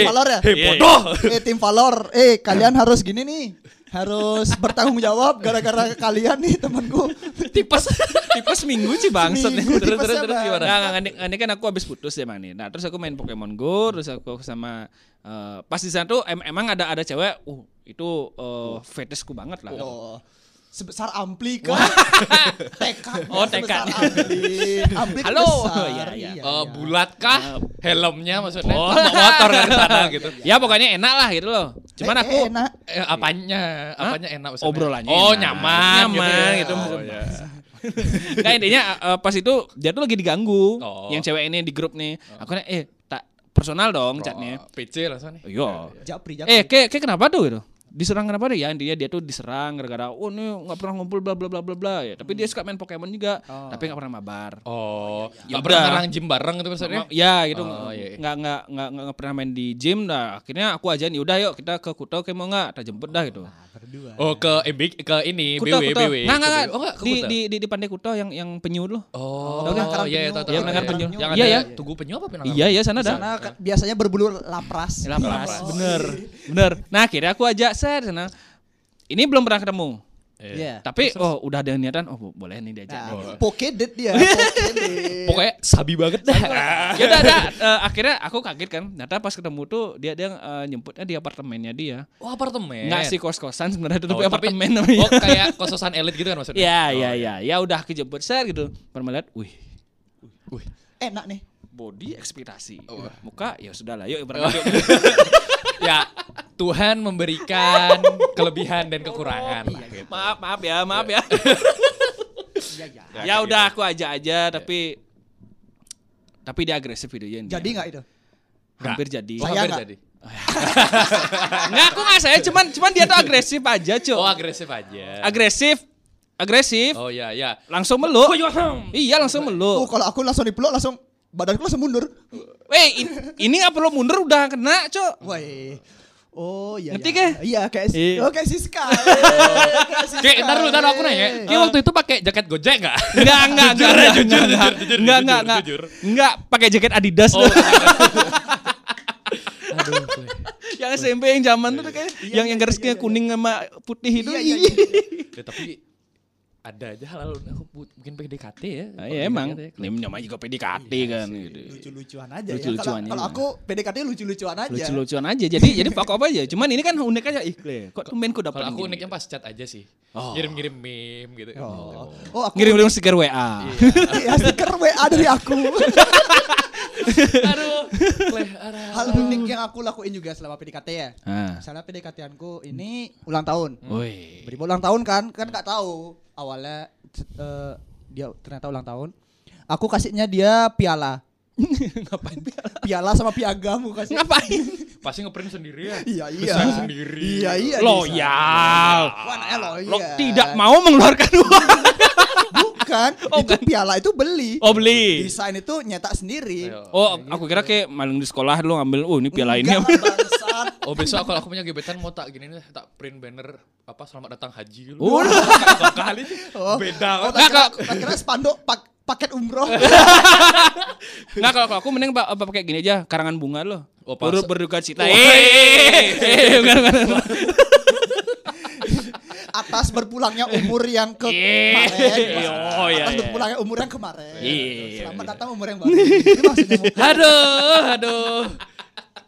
S3: Valor ya.
S2: Iya.
S4: bodoh.
S3: Eh tim Valor, eh kalian harus gini nih. Harus bertanggung jawab gara-gara kalian nih temanku.
S2: tipes tipes minggu Ya, sih bangsat
S3: Seminggu
S2: terus terus
S3: tipesnya,
S2: terus
S3: Bang.
S2: gimana nah, nggak, nggak, ini kan aku habis putus ya nih nah terus aku main Pokemon Go terus aku sama eh, pas di sana tuh em- emang ada ada cewek uh itu eh, fetishku banget lah
S3: Oh. Sebesar ampli kan. TK.
S2: Oh,
S3: sebesar
S2: TK.
S3: Ampli. Ampli itu
S2: Halo.
S3: besar.
S2: Iya, iya.
S4: Eh bulat kah helmnya maksudnya?
S2: Oh.
S4: Bawa motor kan ke
S3: *laughs*
S2: *laughs*
S4: sana gitu.
S2: ya pokoknya enak lah gitu loh cuman
S3: Eh,
S2: aku
S3: eh, enak.
S4: Eh, apanya? Apanya enak maksudnya?
S2: obrolannya
S4: Oh,
S2: enak.
S4: nyaman.
S2: nyaman gitu,
S4: gitu. ya.
S2: Nggak, intinya eh, pas itu dia tuh lagi diganggu
S4: Oh.
S2: yang cewek ini di grup nih
S3: Oh.
S2: aku nanya eh tak personal dong Iya. catnya
S4: Oh, PC rasanya.
S3: Ya,
S2: yo
S3: Japri, Japri.
S2: eh kayak kayak kenapa tuh gitu diserang kenapa tuh ya intinya dia tuh diserang gara-gara oh ini nggak pernah ngumpul bla bla bla bla bla ya tapi dia suka main Pokemon juga tapi nggak pernah mabar
S4: Oh, ya
S2: Ya
S4: pernah
S2: udah.
S4: ngarang gym bareng itu maksudnya?
S2: Mau- ya gitu
S4: Oh, iya, iya.
S2: nggak nggak nggak nggak nggak pernah main di gym dah akhirnya aku ajain yaudah yuk kita ke Kuto kayak mau nggak tak jemput dah gitu
S4: Oh, ke MB ke ini
S2: Kuto
S4: BW
S2: Kuto
S4: BW.
S2: nggak
S4: Ke
S2: nggak nggak
S4: BW. Oh, nggak ke
S2: di
S4: Kuta.
S2: di di, di Pantai Kuto yang yang penyu loh
S4: Oh,
S2: Tahu
S4: iya, iya,
S3: Penyu.
S2: kan?
S4: tahu, tahu,
S2: Iya,
S4: tahu,
S2: menangkap
S4: iya.
S2: penyu.
S4: Yang ada
S2: Iya, iya.
S4: tugu penyu apa penangkap?
S2: iya ya sana dah
S3: Sana kan biasanya berbulu
S2: Eh,
S3: lapras.
S4: kan?
S2: Lapras. Bener, bener. Nah akhirnya aku ajak saya di sana. Ini belum pernah ketemu.
S3: Iya.
S4: Ya,
S2: Tapi oh udah ada niatan oh bo- boleh nih diajak. nih.
S3: Nah, Pokedet
S2: *laughs*
S3: dia.
S2: Iya.
S3: Pokedet.
S4: Pokoknya sabi banget Iya. dah. *laughs*
S2: Ya udah, udah, eh, akhirnya aku kaget kan. Ternyata pas ketemu tuh dia dia eh, nyemputnya di apartemennya dia.
S4: Oh apartemen.
S2: Enggak sih kos-kosan sebenarnya
S4: Oh,
S2: tapi
S4: tapi-
S2: apartemen namanya.
S4: Oh kayak kososan elit gitu kan maksudnya? Oh,
S2: Ya, ya, ya. Ya udah kejebut ser gitu. Permelat, wih,
S3: Enak nih.
S2: body ekspektasi. Muka ya sudahlah, yuk berangkat. yuk.
S4: Ya Tuhan memberikan kelebihan dan kekurangan.
S2: Oh,
S4: lah, gitu.
S2: maaf, maaf ya, maaf *laughs* ya.
S3: Iya,
S4: Ya,
S2: ya
S4: kayak
S2: udah aku aja aja tapi tapi dia agresif videonya ini.
S3: Jadi nggak itu?
S2: hampir jadi.
S4: Oh,
S3: Saya
S4: hampir
S3: nggak.
S4: jadi.
S2: Enggak, aku enggak saya cuman cuman dia tuh agresif aja, Cuk.
S4: Oh agresif aja.
S2: agresif. Agresif.
S4: Oh ya ya.
S2: Langsung meluk. Iya,
S3: Oh,
S2: langsung meluk.
S3: kalau aku langsung dipeluk langsung badanku langsung mundur.
S2: Weh, in- ini nggak perlu mundur udah kena,
S4: *laughs*
S2: Cuk.
S3: Woi. iya, Oh iya.
S2: Ngerti
S3: iya.
S2: kah?
S3: Iya kayak
S2: Iya.
S3: oh kayak Siska. Kayak Siska.
S4: Oke, ntar dulu, ntar dulu aku
S2: Iya.
S4: nanya. Ki waktu itu pakai jaket Gojek enggak?
S2: Enggak, enggak, enggak,
S4: Jujur ya,
S2: enggak,
S4: jujur,
S2: enggak,
S4: jujur, jujur,
S2: enggak,
S4: jujur,
S2: enggak, enggak,
S4: jujur.
S2: enggak, pakai jaket Adidas
S4: *laughs* Oh,
S2: tuh. yang SMP yang zaman tuh kayak yang yang garisnya kuning sama putih itu.
S3: Iya,
S2: *laughs*
S3: iya, iya, iya.
S4: ya, tapi ada aja lalu aku bu- mungkin PDKT ya.
S3: Ah,
S2: Nah, iya emang, ini namanya juga PDKT
S3: Iya,
S2: kan gitu.
S3: Lucu-lucuan aja ya. Kalau
S2: Lucu-lucuannya
S3: kalau aku PDKT lucu-lucuan aja.
S2: Lucu-lucuan aja. Jadi jadi fuck off aja. Cuman ini kan unik aja iklan. Kok tumben kok dapat
S4: Kalau aku
S2: gini?
S4: uniknya pas chat aja sih. Ngirim-ngirim meme gitu.
S3: Oh, oh aku
S2: ngirim-ngirim stiker WA.
S4: Iya.
S3: *laughs* ya stiker WA dari aku.
S4: Aduh. Leh, arah.
S3: Hal unik yang aku lakuin juga selama PDKT ya.
S2: Ah.
S3: Misalnya PDKT-anku ini ulang tahun.
S4: Hmm.
S2: Woi.
S3: Beri ulang tahun kan, kan nggak tahu awalnya eh, dia ternyata ulang tahun. Aku kasihnya dia piala,
S2: *laughs* Ngapain?
S3: piala sama piagam aku kasih.
S2: Ngapain?
S4: Pasti ngeprint sendiri ya.
S3: *laughs* Iya iya.
S4: Desain sendiri.
S3: Iya iya. eh,
S2: Loyal.
S3: Wah, namanya loyal.
S2: Lo tidak Oh, mau mengeluarkan uang.
S3: iya. Bukan. itu piala itu beli.
S2: *laughs* Oh beli.
S3: Desain itu nyetak sendiri.
S2: Oh, aku kira kayak maling di sekolah lu ngambil, oh ini piala ini.
S3: iya, Enggak, bangsat.
S4: Oh besok kalau aku punya gebetan mau tak gini nih tak print banner apa selamat datang haji gitu.
S2: Oh.
S4: *laughs* Dua kali
S3: Oh. Oh,
S4: beda.
S3: tak kira, tak kira spanduk pak- paket umroh.
S2: *laughs* *laughs* Nah, kalau kalau aku mending pak- apa pakai gini aja, karangan bunga lo.
S4: Oh, pas-
S2: Turut berduka cita.
S4: Oh.
S3: *laughs*
S2: Eh, eh, eh, *laughs*
S3: Iya,
S2: eh, bukan, bukan.
S3: atas berpulangnya umur yang ke- kemarin.
S2: Oh, iya,
S3: atas
S2: iya.
S3: berpulangnya umur yang kemarin.
S2: Iya.
S3: Selamat datang umur yang baru. Itu maksudnya. Bu.
S4: Aduh, aduh.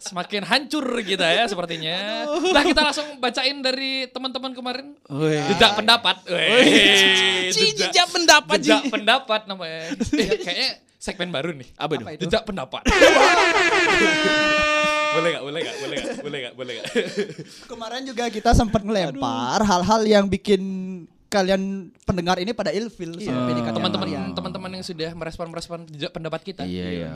S4: Semakin hancur kita ya sepertinya. Nah kita langsung bacain dari teman-teman kemarin.
S2: Woi.
S4: Jejak pendapat. Woi.
S2: Ci,
S4: Jejak-
S2: jejak pendapat, Ci.
S4: Jejak pendapat namanya. Eh, Kayaknya segmen baru nih.
S2: Apa itu?
S4: Jejak pendapat. *laughs* boleh gak? Boleh gak? Boleh gak? Boleh gak? Boleh gak?
S3: Kemarin juga kita sempat ngelempar hal-hal yang bikin kalian pendengar ini ya. pada ilfil
S2: Iya.
S3: sama PDKT
S4: Teman-teman
S3: kalian.
S4: teman-teman yang sudah merespon-merespon jejak pendapat kita.
S2: Iya, iya.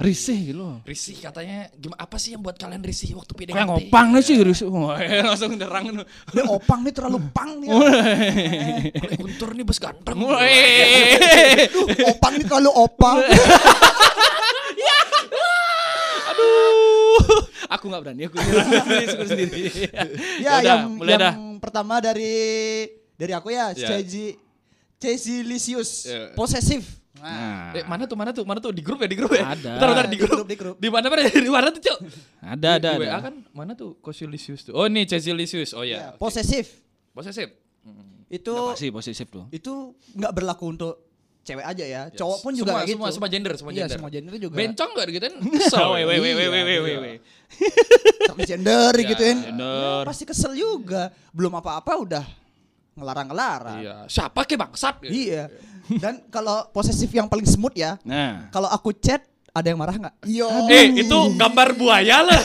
S2: Risih gitu. lo.
S4: Risih katanya gimana apa sih yang buat kalian risih waktu PDKT?
S2: Kayak ngopang lah sih risih. Wah, eh, *laughs* langsung derang.
S3: Ini
S2: *laughs*
S3: opang nih terlalu pang nih. ya.
S4: Kalau Guntur nih bos ganteng.
S2: eh, Woi.
S3: Aduh, opang nih terlalu
S2: *laughs*
S3: opang.
S2: Aduh. Aku nggak berani *laughs* aku sendiri, aku sendiri.
S3: *laughs* ya,
S2: Yaudah,
S3: yang,
S2: mulai
S3: yang
S2: dah.
S3: pertama dari dari aku ya,
S4: Ya.
S3: Cezi Cezi Lisius,
S4: Ya.
S3: posesif. Nah,
S2: Nah,
S4: Eh, mana tuh mana tuh mana tuh di grup ya di grup ya.
S2: Ada.
S4: Bentar, bentar, di
S3: Di grup,
S4: grup.
S3: di grup.
S4: Di mana mana di mana tuh cok?
S2: ada
S4: Di-
S2: ada.
S4: Di WA
S2: ada. Iya.
S4: kan mana tuh Kosilisius tuh. Oh ini Cezilisius. Oh
S3: ya,
S4: ya.
S3: posesif.
S4: Posesif.
S3: Itu
S2: Pasti posesif tuh.
S3: itu nggak berlaku untuk cewek aja ya. Cowok pun juga
S4: Semua
S3: kayak gitu.
S4: semua semua gender semua
S3: Iya,
S4: gender.
S3: semua gender juga.
S4: Bencong gak
S3: *laughs*
S4: digituin? Kesel.
S2: Woi, woi, woi, woi,
S4: Iya,
S2: woi, woi,
S4: iya.
S2: woi.
S4: *laughs*
S3: Transgender gituin.
S2: Bener.
S3: Pasti kesel juga. Belum apa-apa udah ngelarang-ngelarang.
S4: Iya. Siapa ke bangsat?
S3: Iya. Dan kalau posesif yang paling smooth ya,
S2: Nah.
S3: kalau aku chat ada yang marah nggak? Iya.
S4: Eh, itu gambar buaya
S3: *laughs*
S4: lah.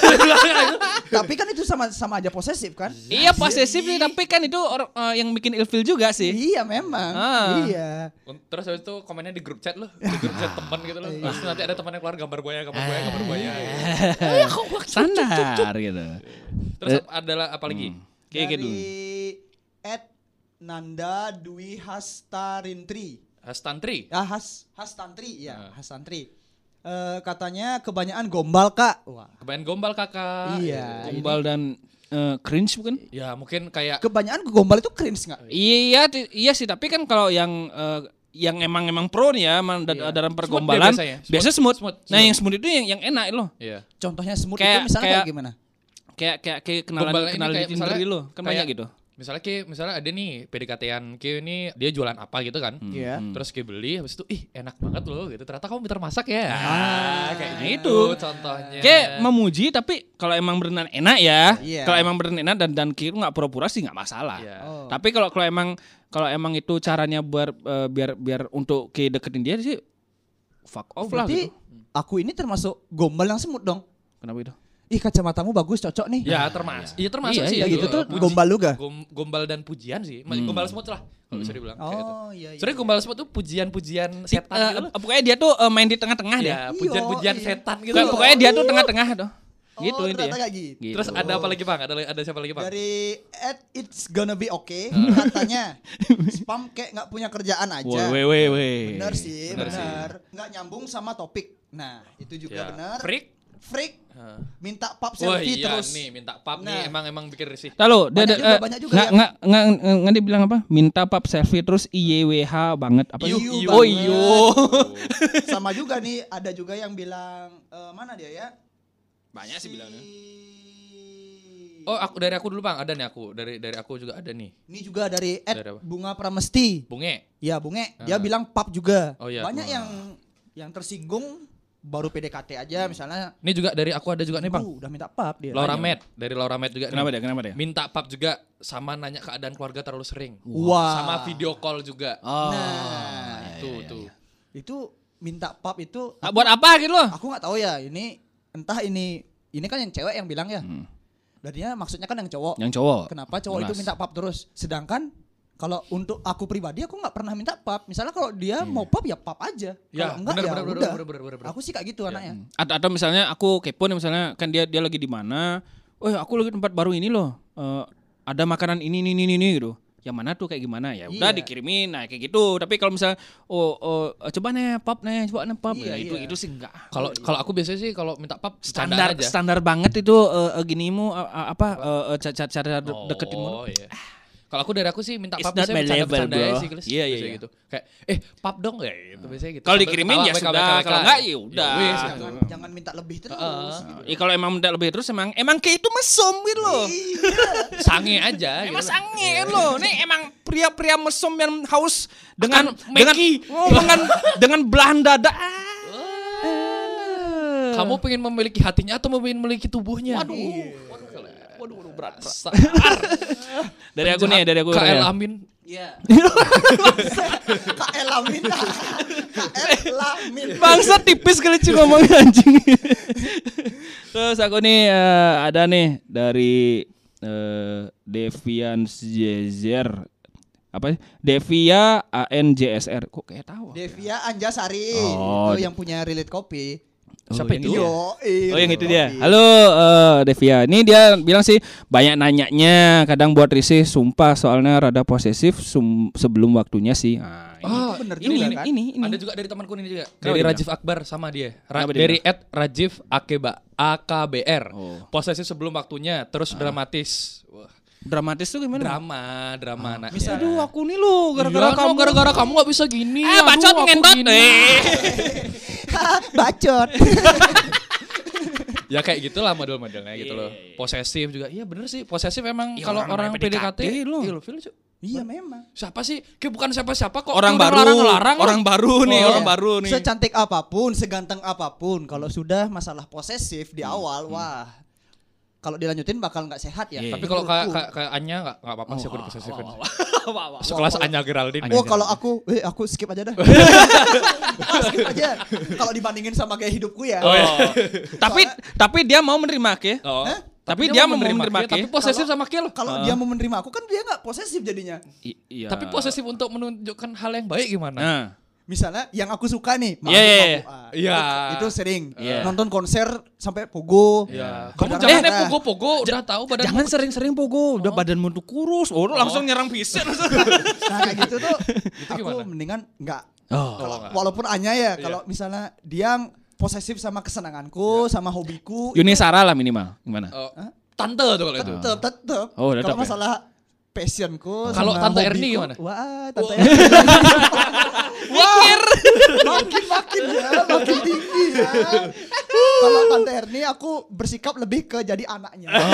S3: Tapi kan itu sama sama aja posesif kan?
S2: Iya posesif sih tapi kan itu orang eh, yang bikin ilfil juga sih.
S3: Iya memang.
S2: Ah.
S3: Iya.
S4: Terus habis itu komennya di grup chat loh, di grup chat teman gitu loh. Terus nanti ada temannya keluar gambar buaya, gambar buaya, gambar buaya.
S2: *laughs* Standar gitu.
S4: Terus
S3: Eh.
S4: adalah apa lagi?
S3: Hmm.
S2: Kayak gitu.
S3: Dari Ed Nanda Dwi Hastarintri.
S4: Hastantri.
S3: Ah, Has Hastantri
S2: Ah.
S3: ya, Hastantri. Eh, katanya kebanyakan gombal, Kak. Wah.
S4: Kebanyakan gombal
S2: Ah,
S4: kakak.
S3: Iya.
S2: Gombal dan eh, cringe bukan?
S4: Ya mungkin kayak
S3: Kebanyakan gombal itu cringe nggak?
S2: Iya ti- iya sih tapi kan kalau yang eh, yang emang emang pro nih ya emang da- dalam
S4: Iya. Smooth
S2: pergombalan
S4: dia biasanya.
S2: biasanya
S4: Smooth.
S2: smooth.
S4: Smooth,
S2: Nah
S4: smooth.
S2: yang smooth itu yang yang enak loh.
S4: Iya.
S3: Contohnya smooth
S2: Kayak-
S3: itu misalnya kayak,
S2: kayak-
S3: gimana?
S2: Kayak kayak, kayak kenalan
S4: Gombalnya ini
S2: kenal di
S4: kayak
S2: Tinder
S4: misalnya
S2: lo kan
S4: kayak-
S2: banyak gitu.
S4: Misalnya Ki, misalnya ada nih PDKT-an Ki ini dia jualan apa gitu kan.
S2: Hmm,
S3: Iya.
S4: Terus Ki beli habis itu ih enak banget loh gitu. Ternyata kamu pintar masak ya. Ah, kayak
S2: gitu.
S4: contohnya.
S2: Kayak memuji tapi kalau emang berenang enak ya,
S3: Iya.
S2: kalau emang berenang enak dan dan kira nggak pura-pura sih nggak masalah.
S4: Iya.
S3: Oh.
S2: Tapi kalau kalau emang kalau emang itu caranya biar eh, biar biar untuk ke deketin dia sih fuck off lah
S3: Berarti
S2: gitu.
S3: aku ini termasuk gombal yang semut dong.
S2: Kenapa itu?
S3: Ih kacamatamu bagus cocok nih.
S4: Ya termasuk. Iya termasuk
S2: Iya,
S4: sih.
S2: iya,
S4: itu.
S3: gitu tuh
S4: Puji.
S3: gombal juga.
S4: Gom- gombal dan pujian sih. Ma-
S2: Hmm.
S4: Gombal semut lah kalau bisa dibilang kayak itu.
S3: Oh iya. iya.
S4: Sebenarnya gombal semut tuh pujian-pujian setan
S2: Eh,
S4: gitu. loh.
S2: eh, pokoknya dia tuh eh, main di tengah-tengah deh.
S4: Ya, pujian-pujian
S3: Iya, iya.
S4: setan gitu.
S2: Kayak
S4: loh.
S2: pokoknya dia tuh tengah-tengah tuh.
S3: Oh,
S2: gitu
S3: ternyata
S2: intinya.
S3: kayak gitu.
S2: Gitu.
S4: Terus ada apa lagi Bang? Ada ada siapa lagi Bang?
S3: Dari at it's gonna be okay
S2: Ah. *laughs*
S3: katanya spam kayak nggak punya kerjaan aja.
S2: Woi, woi, woi.
S3: Bener sih,
S4: Bener
S3: bener.
S4: sih.
S3: Nggak nyambung sama topik. Nah, itu
S4: Ya.
S3: juga bener.
S4: Freak.
S3: Freak.
S4: Hah.
S3: Minta pap
S4: Wah
S3: selfie
S4: iya
S3: terus.
S4: nih minta pap
S3: Nah.
S4: nih emang emang bikin risih.
S2: Lalu dia
S3: Banyak
S2: ada
S3: juga,
S2: eh,
S3: banyak juga ya.
S2: nggak
S3: yang-
S2: nggak nggak nggak- nggak dibilang apa? Minta pap selfie terus IYWH banget apa?
S3: Iyu
S2: Iyu-
S3: banget.
S2: Oh
S4: iya.
S2: iyo.
S3: Sama juga nih, ada juga yang bilang eh, mana dia ya?
S2: Banyak sih
S4: ya.
S2: bilangnya.
S3: Si-
S4: Oh aku dari aku dulu Bang, ada nih aku. Dari dari aku juga ada nih.
S3: Ini juga dari Ed
S4: Dari apa?
S3: Bunga Pramesti.
S4: Bunge.
S3: Ya, Bunge, dia bilang pap juga.
S4: Oh, iya,
S3: Banyak
S4: Bunga.
S3: yang yang tersinggung baru PDKT aja misalnya.
S4: Ini juga dari aku ada juga nih Bang.
S3: "Uh, udah minta pap dia.
S4: Hmm. Laura Med, dari Laura Med juga. nih.
S2: Iya, Kenapa dia? Iya. Kenapa
S3: Nah.
S2: dia?
S4: Minta pap juga sama nanya keadaan keluarga terlalu sering.
S3: Wah.
S4: Sama video call juga.
S2: Oh,
S3: Nah,
S2: iya,
S4: itu tuh.
S3: itu minta pap itu
S2: Ah, buat apa gitu loh?
S3: aku nggak tahu ya ini entah ini ini kan yang cewek yang bilang ya darinya maksudnya kan yang cowok
S2: Hmm. Yang cowok.
S3: kenapa cowok itu
S2: jelas.
S3: minta pap terus sedangkan kalau untuk aku pribadi aku nggak pernah minta pap misalnya kalau dia
S2: Iya.
S3: mau pap ya pap aja
S4: Ya,
S3: kalau enggak
S4: benar,
S3: ya
S4: benar, benar,
S3: udah
S4: benar, benar, benar, benar.
S3: aku sih kayak
S2: Iya.
S3: gitu anaknya
S2: Atau, atau misalnya aku kepo nih misalnya kan dia dia lagi di mana? Oh aku lagi di tempat baru ini loh. Eh, ada makanan ini ini ini ini gitu. Yang mana tuh kayak gimana ya? Udah
S3: Iya.
S2: dikirimin nah kayak gitu. Tapi kalau misalnya oh, oh, eh, coba nih pap nih coba nih pap.
S3: Iya,
S2: Nah, itu
S3: iya.
S2: itu sih enggak.
S4: Kalau kalau aku biasanya sih kalau minta pap bercandaan
S2: Standar
S4: aja.
S2: standar banget itu eh, eh, ginimu eh, eh, apa eh, eh, ca- ca- cara de- deketinmu.
S4: Oh iya. Kalau aku dari aku sih minta
S2: It's
S4: pap
S2: not
S4: biasanya
S2: my level,
S4: bercanda-bercanda
S2: bro.
S4: aja sih gelis.
S2: Iya, iya,
S4: Biasanya
S2: iya.
S4: gitu. Kayak eh pap dong ya gitu biasanya gitu.
S2: Kalau
S4: Sambil
S2: dikirimin
S4: ketawa,
S2: ya
S4: WKWK,
S2: sudah, kalau enggak ya udah.
S4: wes, gitu.
S3: jangan jangan minta lebih terus gitu.
S2: Ya kalau emang minta lebih terus emang emang kayak itu mesum gitu loh.
S4: Sange aja
S2: Emang
S4: gitu.
S2: sange kan lo. Nih emang pria-pria mesum yang haus dengan
S4: Akan
S2: dengan
S4: meki.
S2: oh, dengan dengan belahan dada. Ah.
S4: Kamu pengen memiliki hatinya atau pengen memiliki tubuhnya? Iya. Waduh. Waduh, waduh, waduh berat.
S2: Dari aku nih, dari aku.
S4: KL
S2: ya.
S4: Amin.
S3: Iya. *laughs* kak
S2: *laughs*
S3: Elamin lah kak Elamin
S2: Bangsa tipis kali cuy ngomongin anjing. *laughs* Terus aku nih eh, ada nih dari eh, Devian Jezer apa sih? Devia ANJSR kok kayak tahu aku?
S3: Devia Anjasari
S2: Oh.
S3: itu yang punya relate kopi
S2: Oh,
S4: Siapa
S2: yang
S4: itu?
S2: dia?
S3: Yo,
S2: Oh yang itu dia. Halo eh, Devia. Ini dia bilang sih banyak nanyanya, kadang buat risih, sumpah soalnya rada posesif sum- sebelum waktunya sih. Ah, ini.
S4: Ah,
S3: bener
S2: ini,
S3: juga
S2: ini,
S3: kan?
S2: ini, ini.
S4: Ada juga dari temanku ini juga.
S2: Kenapa
S4: dari
S2: dia
S4: Rajiv Akbar sama dia. Ra-
S2: Kenapa dia
S4: dari at Rajiv Akeba AKBR.
S2: Oh.
S4: Posesif sebelum waktunya, terus dramatis. Wah,
S2: Dramatis tuh gimana?
S4: drama, drama anaknya.
S2: Aduh, aku nih lo
S4: Ah,
S2: gara-gara
S4: Iya,
S2: kamu
S4: no, gara-gara kamu gak bisa gini.
S2: Eh,
S4: Aduh,
S2: bacot
S4: aku
S2: ngentot.
S4: gini.
S2: Eh.
S3: *laughs*
S2: *laughs*
S3: bacot
S4: ya kayak gitulah model-modelnya gitu loh. Posesif juga. Iya bener sih, posesif emang
S2: Iya,
S4: kalau orang,
S2: orang main PDKT
S4: PDKT,
S2: loh.
S4: Iya, lo feel cu.
S3: iya memang
S4: Siapa sih? Kayak bukan siapa-siapa kok. Lu
S2: Orang Oh,
S4: udah
S2: baru,
S4: ngelarang-ngelarang
S2: orang
S4: lo.
S2: baru nih,
S3: Iya.
S2: orang baru nih.
S3: Secantik apapun, seganteng apapun, kalau sudah masalah posesif di
S2: Hmm.
S3: awal, wah. Kalau dilanjutin bakal nggak sehat ya.
S2: Iya.
S4: Tapi kalau kayak kayak
S3: Menurutku.
S4: kayak Anya nggak nggak apa-apa sih aku diposesifin.
S2: Wah, wah.
S4: Sekelas Anya Geraldine.
S3: Oh
S2: kan?
S3: kalau aku, eh aku skip aja
S2: *laughs*
S3: dah. *laughs* Ah, skip aja. Kalau dibandingin sama gaya hidupku ya.
S2: Oh, iya. tapi tapi dia mau menerima ke?
S4: Oh.
S3: Hah?
S2: Tapi dia mau menerima
S4: Ki,
S2: ke?
S4: tapi posesif sama kill.
S2: Ah.
S3: Kalau dia mau menerima aku kan dia nggak posesif jadinya.
S2: I- iya.
S4: Tapi posesif untuk menunjukkan hal yang baik gimana?
S2: Nah,
S3: Misalnya yang aku suka nih,
S2: Iya, iya,
S3: aku,
S2: iya.
S3: ah,
S4: Iya.
S3: Itu sering
S2: Iya.
S3: nonton konser sampai pogo.
S4: Kamu
S3: Berdarah.
S4: jangan eh, pogo-pogo udah tahu badan
S2: jangan sering-sering pogo, udah badanmu tuh kurus. Oh, lu langsung nyerang fisik.
S3: Nah kayak gitu
S2: *laughs*
S3: tuh aku
S4: gimana?
S3: mendingan nggak.
S2: Oh.
S3: Kalau- walaupun Anya ya kalau misalnya dia posesif sama kesenanganku, sama hobiku,
S2: Yunisara lah minimal. Gimana?
S4: Oh, tante tuh kalau itu.
S3: tetep tetep.
S2: Oh,
S3: kalau
S2: tetep ya?
S3: masalah passionku,
S4: Kalau
S3: sama
S4: Tante
S3: hobiku-
S4: Erni gimana?
S3: Wah, Tante
S2: Oh.
S3: Erni.
S2: *laughs*
S3: Mikir. makin makin ya, makin tinggi ya. Kalau Tante Erni aku bersikap lebih ke jadi anaknya.
S2: Oh.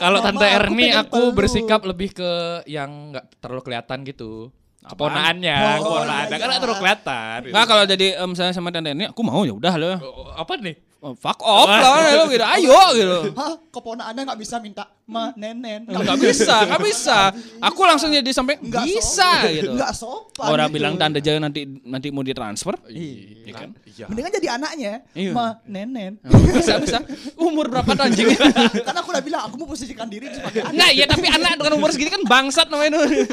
S4: Kalau
S3: Mama,
S4: Tante
S3: aku
S4: Erni
S3: pengen
S4: aku
S3: peluk.
S4: bersikap lebih ke yang nggak terlalu kelihatan gitu. Keponaannya,
S3: Oh,
S4: keponaannya
S3: iya,
S4: kan nggak
S3: iya.
S4: terlalu kelihatan. gitu.
S2: Nah kalau jadi em, misalnya sama tante ini aku mau ya udah lo
S4: Oh, apa nih?
S2: Oh, fuck off lah
S4: *laughs*
S2: lo gitu ayo gitu
S3: Hah, keponakannya nggak bisa minta ma nenen.
S2: nggak bisa nggak bisa aku langsung jadi sampai
S3: Nggak
S2: bisa
S3: sopan.
S2: gitu
S3: Nggak sopan.
S2: orang
S3: gitu.
S2: bilang tanda jangan nanti nanti mau ditransfer iya kan
S3: Mendingan jadi anaknya,
S2: Iya. Oh.
S3: ma nenen.
S2: bisa bisa umur berapa tuh anjing
S3: Karena aku udah bilang aku mau posisikan diri sebagai anak.
S2: Nah ya tapi anak dengan umur segini kan bangsat namanya Nur.
S3: Iya.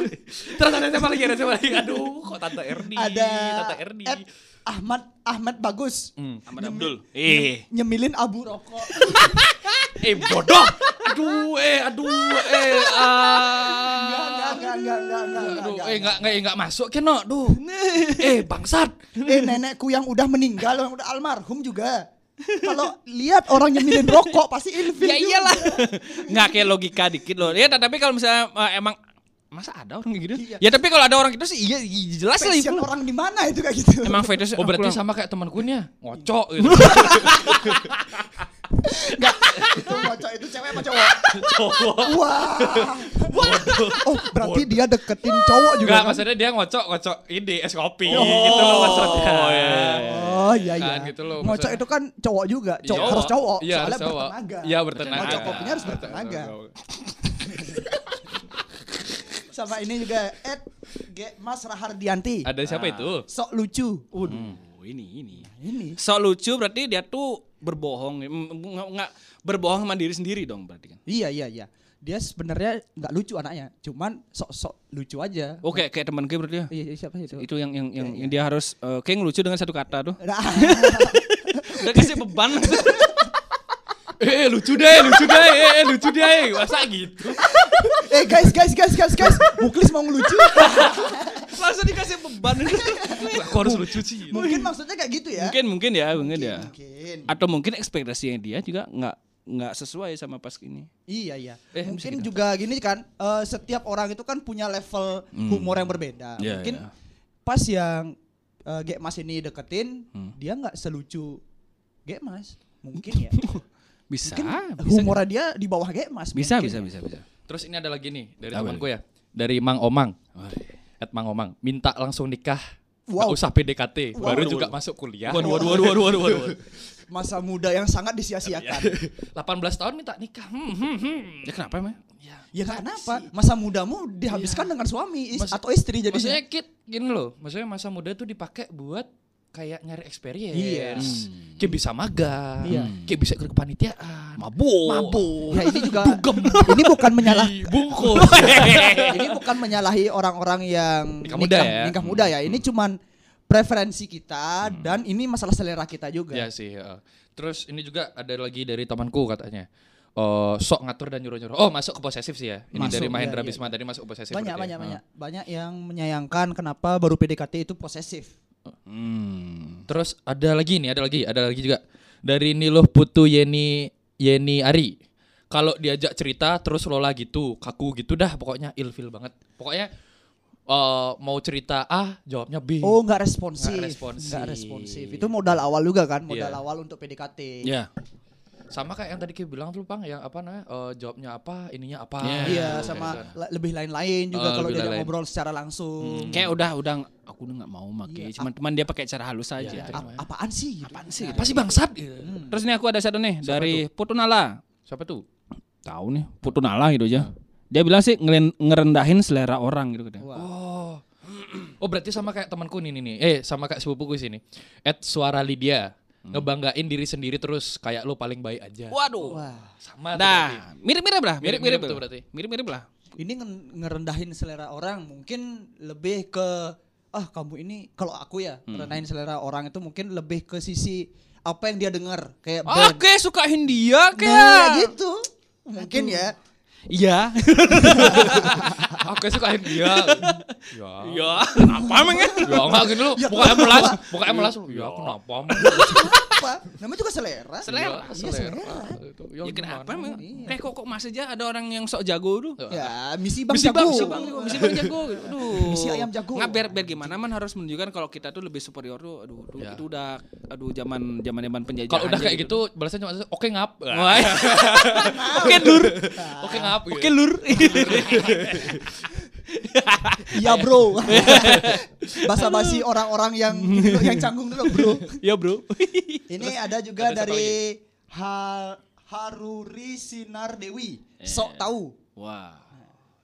S4: Terus ada siapa lagi? Ada siapa lagi? Aduh, kok Tante Erni?
S3: Ada
S2: iya,
S4: Tante Erni.
S3: Ed Ahmad Ahmad bagus.
S2: Ahmad Abdul.
S4: Eh,
S3: Nyemilin abu rokok.
S4: eh bodoh. Aduh, eh, aduh, eh, ah.
S3: Enggak, enggak, enggak, enggak, enggak,
S4: Aduh,
S3: enggak, enggak,
S4: eh
S3: enggak.
S4: enggak enggak enggak masuk kena. Duh. Eh, bangsat.
S3: Eh nenekku yang udah meninggal, yang udah almarhum juga. Kalau lihat orang nyemilin rokok pasti ilfil.
S2: Ya
S3: juga.
S2: iyalah. Nggak kayak logika dikit loh. Ya tapi kalau misalnya eh, emang masa ada orang kayak gitu?
S3: Iya.
S2: Ya tapi kalau ada orang gitu sih iya iya, jelas lah itu.
S3: Spesial orang di mana itu kayak gitu.
S2: Emang fetish
S4: Oh, berarti
S2: aku-
S4: sama kayak temanku nih ya. Ngocok gitu. *laughs*
S3: itu bocah itu cewek apa cowok? Wah. Oh, berarti dia deketin cowok juga.
S4: Enggak,
S3: kan?
S4: maksudnya dia ngocok, ngocok ini es kopi gitu loh maksudnya.
S3: Oh iya iya.
S4: Kan gitu loh,
S3: Ngocok
S4: maksudnya.
S3: itu kan cowok juga,
S4: Iya.
S3: cowok harus cowok,
S4: Iya,
S3: soalnya
S4: harus cowok.
S3: bertenaga.
S4: Iya, bertenaga.
S3: Ngocok kopinya harus bertenaga. Sama ini juga Ed G Mas Rahardianti.
S4: Ada siapa itu?
S3: Sok lucu.
S2: Oh, ini ini.
S3: Ini
S2: So lucu berarti dia tuh berbohong. Mm, Nggak nggak- berbohong sama diri sendiri dong berarti kan.
S3: Iya iya iya. Dia sebenarnya nggak lucu anaknya, cuman sok-sok lucu aja.
S2: Oke, kayak teman gue berarti ya.
S3: Iya iya, siapa itu?
S2: Itu yang yang yang, yang dia harus eh, kayak ngelucu dengan satu *laughs* kata tuh.
S3: Nah, *laughs*
S2: Udah kasih *laughs* beban.
S4: Eh, lucu deh, lucu deh, eh, lucu deh. Masa gitu?
S3: eh guys guys guys guys guys, Muklis mau ngelucu.
S2: Langsung dikasih beban.
S4: Aku harus lucu sih.
S3: *laughs* mungkin maksudnya kayak gitu ya.
S2: mungkin mungkin ya, mungkin ya.
S3: Mungkin.
S2: atau mungkin ekspektasinya dia juga nggak nggak sesuai sama pas ini
S3: Iya iya.
S2: Eh, bisa
S3: mungkin
S2: gitu.
S3: juga gini kan eh, setiap orang itu kan punya level humor yang berbeda.
S2: Hmm. Iya,
S3: mungkin
S2: iya.
S3: pas yang eh, Gek Mas ini deketin,
S2: Hmm.
S3: dia nggak selucu Gek Mas. Mungkin ya.
S2: *laughs* bisa
S3: mungkin
S2: bisa
S3: humornya dia di bawah Gek Mas.
S2: bisa
S3: mungkin
S2: bisa
S3: ya.
S2: bisa bisa
S4: Terus ini ada lagi nih dari
S2: Apa
S4: temanku ya. Dari Mang Omang. At Mang Omang, minta langsung nikah. Nggak
S3: Wow.
S4: usah PDKT, baru juga masuk kuliah.
S2: waduh waduh waduh waduh
S4: *laughs*
S3: Masa muda yang sangat disia-siakan.
S2: Iya.
S4: 18 tahun minta nikah. Hmm, hmm, hmm.
S2: ya kenapa emang
S3: ya kenapa?
S2: Iya.
S3: Masa mudamu dihabiskan dengan suami is-
S4: Maksud-
S3: atau istri jadi
S4: Maksudnya kit gini loh, maksudnya masa muda tuh dipakai buat kayak nyari experience.
S3: Yes.
S4: Kayak bisa magang,
S3: Iya.
S4: kayak bisa ikut kepanitiaan,
S2: mabuk
S4: mabuk,
S3: Ya ini
S2: *laughs*
S3: juga *laughs* Iya. ini bukan menyalah
S4: dibungkus.
S3: *laughs*
S4: *laughs*
S3: ini bukan menyalahi orang-orang yang
S4: Nikah muda ya. Hmm.
S3: nikah muda ya. Ini cuman preferensi kita dan ini masalah selera kita juga.
S4: ya sih. heeh. Terus ini juga ada lagi dari temanku katanya. eh sok ngatur dan nyuruh-nyuruh. Oh, masuk ke posesif sih ya. Ini
S3: Masuk,
S4: dari
S3: iya,
S4: Mahendra
S3: iya,
S4: Bisma tadi masuk ke posesif.
S3: banyak
S4: berarti
S3: banyak
S4: ya.
S3: banyak banyak yang menyayangkan kenapa baru PDKT itu posesif.
S4: Heeh. Terus ada lagi nih, ada lagi, ada lagi juga dari Niluh Putu Yeni Yeni Ari. Kalau diajak cerita terus lola gitu, kaku gitu dah pokoknya ilfil banget. Pokoknya eh, mau cerita A, jawabnya B.
S3: Oh nggak responsif.
S4: Nggak responsif.
S3: Nggak responsif. Itu modal awal juga kan, modal
S4: Iya.
S3: awal untuk PDKT.
S2: ya
S4: Sama kayak yang tadi Ki bilang tuh, Bang, yang apa namanya? eh, jawabnya apa, ininya apa.
S3: Iya,
S4: Gitu,
S3: sama
S4: kayak gitu.
S3: la- lebih lain-lain juga
S4: Oh, lebih
S3: kalau diajak
S4: lain-lain. Hmm.
S3: ngobrol secara langsung.
S2: kayak udah udah ng- aku udah nggak mau make
S3: Iya.
S2: cuman cuman dia pakai cara halus aja
S4: Iya.
S3: A- apaan sih? gitu? Apaan sih?
S4: Apa sih bangsat? Gitu.
S2: terus ini aku ada satu nih dari Putunala
S4: Siapa tuh?
S2: tahu nih Putunala gitu aja dia bilang sih ngelen- ngerendahin selera orang gitu katanya.
S4: Oh. Oh berarti sama kayak temanku nih nih nih. Eh sama kayak sepupuku sini. At suara Lydia
S2: Hmm.
S4: ngebanggain diri sendiri terus kayak lo paling baik aja.
S2: Waduh.
S3: Wah,
S4: Sama tuh berarti.
S2: Nah, mirip-mirip lah,
S4: Mirip-mirip
S2: mirip-mirip
S4: tuh
S2: tuh
S4: berarti.
S2: Mirip-mirip lah.
S3: ini nge- ngerendahin selera orang mungkin lebih ke ah kamu ini kalau aku ya
S2: Hmm.
S3: ngerendahin selera orang itu mungkin lebih ke sisi apa yang dia dengar kayak
S2: Ah, Oke,
S3: band
S2: suka Hindia
S4: iya,
S3: Nah,
S2: kayak.
S3: gitu mungkin ya
S2: Iya.
S4: Aku sukain dia.
S2: *laughs*
S4: ya.
S2: Iya. Apa emang ya? Iya. *laughs*
S4: Ya enggak gini lu. Buka melas, buka melas. Ya aku kenapa? emang?
S3: apa? Namanya juga selera.
S2: Selera.
S4: Iya, selera. Itu. Ya,
S2: Ya kenapa
S4: gimana?
S2: emang? Eh kok kok mas aja ada orang yang sok jago dulu.
S3: Ya, misi bang
S2: Misi bang,
S3: jago.
S2: misi bang, misi bang jago. Aduh.
S3: Misi ayam jago.
S2: Nggak, biar, biar gimana man harus menunjukkan kalau kita tuh lebih superior tuh. Aduh, aduh,
S4: Ya.
S2: itu udah aduh zaman zaman zaman penjajahan.
S4: Kalau udah
S2: aja
S4: kayak gitu, balasnya cuma oke ngap.
S2: Wah. Oke lur.
S4: Oke ngap. gitu.
S2: Oke lur.
S3: Iya
S2: *laughs*
S3: bro. Bahasa basi orang-orang yang ini
S2: Iya.
S3: loh, *laughs* yang canggung dulu bro.
S2: Ya bro.
S3: Ini ada juga
S4: ada siapa
S3: dari Ha- Haruri Sinar Dewi.
S2: Iya.
S3: Sok tahu.
S2: Wah.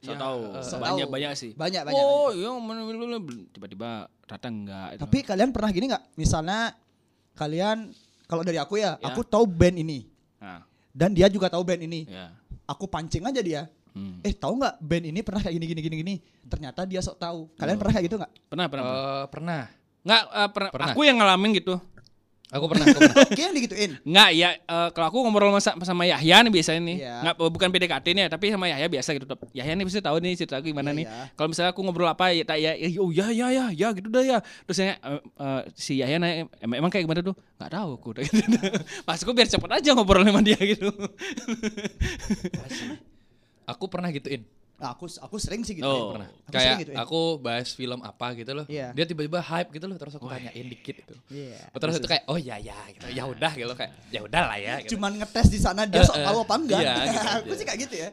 S2: Saya tahu.
S3: Iya. sok
S2: banyak
S3: tahu.
S2: banyak sih.
S3: Banyak banyak.
S2: Oh, iya men- men- men- men- tiba-tiba rata enggak.
S3: Tapi kalian pernah gini nggak? Misalnya kalian kalau dari aku ya, aku tahu band ini
S2: Nah,
S3: dan dia juga tahu band ini.
S2: ya.
S3: Aku pancing aja dia.
S2: Hmm.
S3: Eh tahu nggak band ini pernah kayak gini gini gini gini. Ternyata dia sok tahu.
S4: Oh.
S3: Kalian pernah kayak gitu nggak?
S2: Pernah pernah. pernah.
S4: Eh, pernah.
S2: Nggak eh, pernah.
S4: Pernah.
S2: Aku yang ngalamin gitu.
S4: Aku pernah. Aku
S2: *laughs*
S4: pernah.
S3: Oke yang digituin.
S2: Nggak ya eh, kalau aku ngobrol sama, sama Yahya nih biasanya nih.
S3: Iya.
S2: Nggak bukan PDKT nih ya, tapi sama Yahya biasa gitu. Tep. Yahya nih pasti tahu nih cerita aku gimana
S3: Iya,
S2: nih.
S3: iya.
S2: Kalau misalnya aku ngobrol apa ya tak ya ya- oh ya ya ya ya gitu dah ya. Terus saya eh, eh, si Yahya nanya emang, emang kayak gimana tuh? Nggak tahu aku. *laughs* Pas aku biar cepet aja ngobrol sama dia gitu.
S4: aku pernah gituin.
S3: Nah, aku aku sering sih gitu.
S2: Oh.
S4: Pernah.
S3: Aku
S4: Kayak
S3: sering gituin.
S4: aku bahas film apa gitu loh.
S3: Iya. Oh,
S4: Dia tiba-tiba hype gitu loh, terus aku tanyain dikit gitu.
S3: Iya.
S4: Terus itu kayak oh ya ya gitu. Ya udah gitu kayak ya udah lah ya gitu.
S3: Cuman ngetes di sana dia sok
S4: Eh, eh.
S3: tahu apa enggak.
S4: Iya, gitu
S3: *laughs* aku
S4: aja.
S3: sih kayak gitu ya.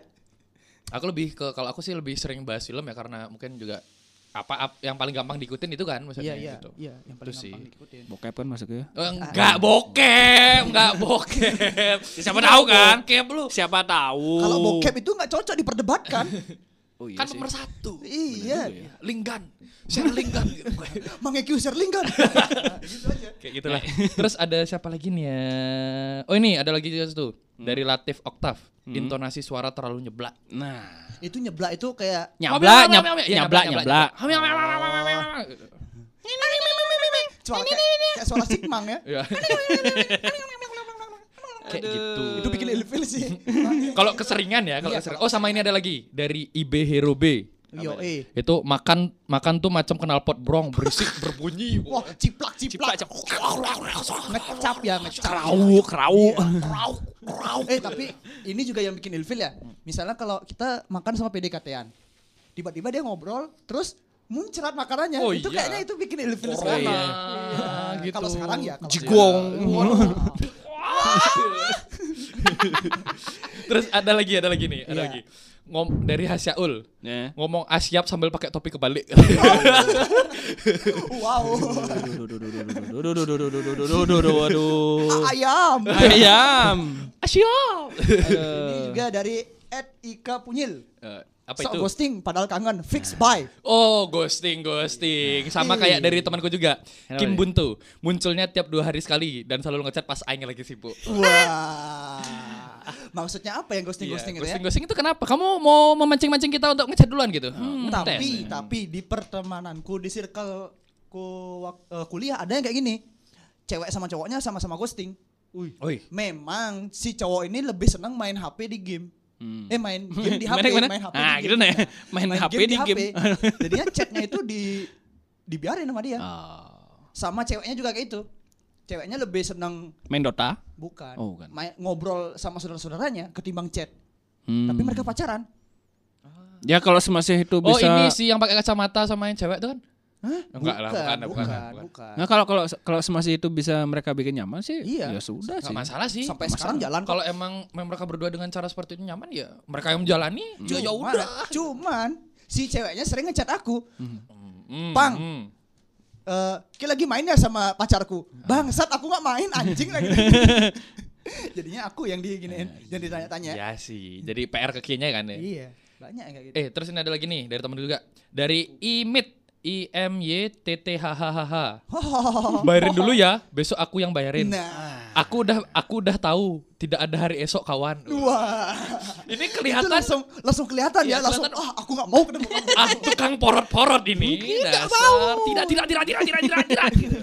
S4: Aku lebih ke kalau aku sih lebih sering bahas film ya karena mungkin juga apa ap- yang paling gampang diikutin itu kan maksudnya gitu.
S3: Iya, Ah, yang paling
S4: Itu sih.
S3: gampang diikutin.
S2: Bokep kan masuknya.
S4: Oh, enggak bokep, enggak
S3: *laughs*
S4: bokep.
S2: Siapa tahu kan? Bokep lu.
S3: Iya
S2: Siapa tahu.
S4: Oh.
S3: Kalau bokep itu nggak cocok
S4: *laughs*
S3: diperdebatkan.
S2: Oh, iya
S4: Kan
S2: sih.
S4: nomor satu.
S3: iya.
S4: Linggan. Share linggan gitu.
S3: *laughs* Mang Eki Sherling
S4: *laughs*
S3: kan. Nah, gitu aja.
S4: Kayak gitulah. *laughs* Terus ada siapa lagi nih ya? Oh ini ada lagi juga satu
S3: Hmm.
S4: dari Latif Oktav. Intonasi suara terlalu nyeblak.
S3: Oh,
S2: Nah,
S3: Itu nyeblak itu kayak
S2: nyabla nyab-
S4: Ya,
S2: nyabla nyabla.
S3: cuma kayak, kayak suara sigmang
S4: *laughs*
S3: ya.
S4: Ya.
S3: *laughs*
S4: Kayak gitu.
S3: Itu bikin ilfil sih.
S4: Kalau keseringan ya,
S3: Iya.
S4: kalau keseringan. Oh sama ini ada lagi dari IB Hero B.
S3: Yo
S4: ya?
S3: eh.
S4: Itu makan makan tuh macam knalpot brong berisik *laughs* berbunyi.
S3: Wah, ciplak ciplak. Ngecap ya, ngecap. Iya.
S2: Kerau, kerau.
S3: Eh tapi ini juga yang bikin ilfil ya. Misalnya kalau kita makan sama PDKT-an. Tiba-tiba dia ngobrol terus muncrat makanannya.
S4: Oh,
S3: itu
S4: iya.
S3: kayaknya itu bikin ilfil
S4: Corona,
S3: sekali.
S4: gitu.
S3: Kalau sekarang ya kalau
S2: Jigong.
S4: Terus ada lagi, ada lagi nih, ada
S3: Iya.
S4: lagi. Ngom dari Hasyaul.
S2: Ya.
S4: Ngomong asyap sambil pakai topi kebalik.
S3: Oh.
S4: *laughs*
S3: sekarang, Wow.
S2: Aduh.
S3: *laughs* Ayam.
S4: Eh.
S3: Iya.
S2: Ayam.
S4: asyap.
S3: Ini juga dari Ed Ika Punyil.
S4: Eh, apa
S3: Sok
S4: itu?
S3: ghosting padahal kangen. Fix bye.
S4: Oh, ghosting, ghosting. Sama kayak dari temanku juga.
S3: ya?
S4: Kim Buntu. Munculnya tiap dua hari sekali dan selalu ngechat pas aing lagi sibuk.
S3: Wah. Maksudnya apa yang
S2: Iya,
S3: ghosting-ghosting itu ya?
S4: Iya, ghosting, ghosting itu kenapa? Kamu mau memancing-mancing kita untuk ngechat duluan gitu? Hmm,
S3: tapi
S4: tes.
S3: tapi di pertemananku di circle ku wak- eh, kuliah ada yang kayak gini cewek sama cowoknya sama-sama ghosting
S4: Oi.
S3: memang si cowok ini lebih senang main HP di game
S2: Hmm.
S3: eh
S2: *laughs*
S3: main game di HP
S2: Gimana, gimana?
S3: main HP
S2: Nah,
S3: di
S2: gitu
S3: game
S2: nih. Main HP di game. *laughs*
S3: jadinya ya chatnya itu di dibiarin sama
S2: Ah.
S3: dia sama ceweknya juga kayak itu ceweknya lebih senang
S2: Main Dota.
S3: bukan,
S2: Oh, bukan.
S3: main- ngobrol sama saudara-saudaranya ketimbang chat
S2: Hmm.
S3: tapi mereka pacaran
S2: Ya kalau semasih itu
S4: Oh
S2: bisa.
S4: ini sih yang pakai kacamata sama yang cewek tuh kan?
S3: Hah?
S4: Enggak lah, bukan, bukan, bukan.
S3: bukan.
S2: Nah kalau kalau kalau semasih itu bisa mereka bikin nyaman sih.
S3: Iya.
S2: Ya sudah sih.
S4: Gak masalah sih.
S3: sampai sekarang jalan kok.
S4: Kalau emang mereka berdua dengan cara seperti itu nyaman ya mereka yang menjalani.
S3: Hmm.
S4: Ya ya
S3: Cuman-
S4: udah.
S3: Cuman si ceweknya sering ngechat aku.
S4: Hmm,
S3: Pang.
S4: hmm.
S3: Eh, "Ki lagi main ya sama pacarku.
S4: Ah.
S3: Bangsat aku nggak main anjing
S4: *laughs*
S3: lagi. Jadinya aku yang diginiin, yang ditanya-tanya.
S4: Ya sih. Jadi PR kekinya kan ya.
S3: Iya. Banyak yang kayak gitu.
S4: Eh terus ini ada lagi nih dari temen juga dari Imit I M Y T T H H H H. Bayarin dulu ya, besok aku yang bayarin.
S3: Nah.
S4: Aku udah aku udah tahu tidak ada hari esok kawan.
S3: Wah.
S4: Ini
S3: Itu
S4: kelihatan
S3: langsung langsung kelihatan
S4: Iya,
S3: ya, langsung
S4: kelihatan.
S3: ah aku nggak mau ketemu
S4: *laughs*
S3: kamu.
S4: ah tukang porot-porot ini. Tidak Tidak tidak tidak tidak tidak tidak
S3: *laughs*
S4: tidak. Gitu.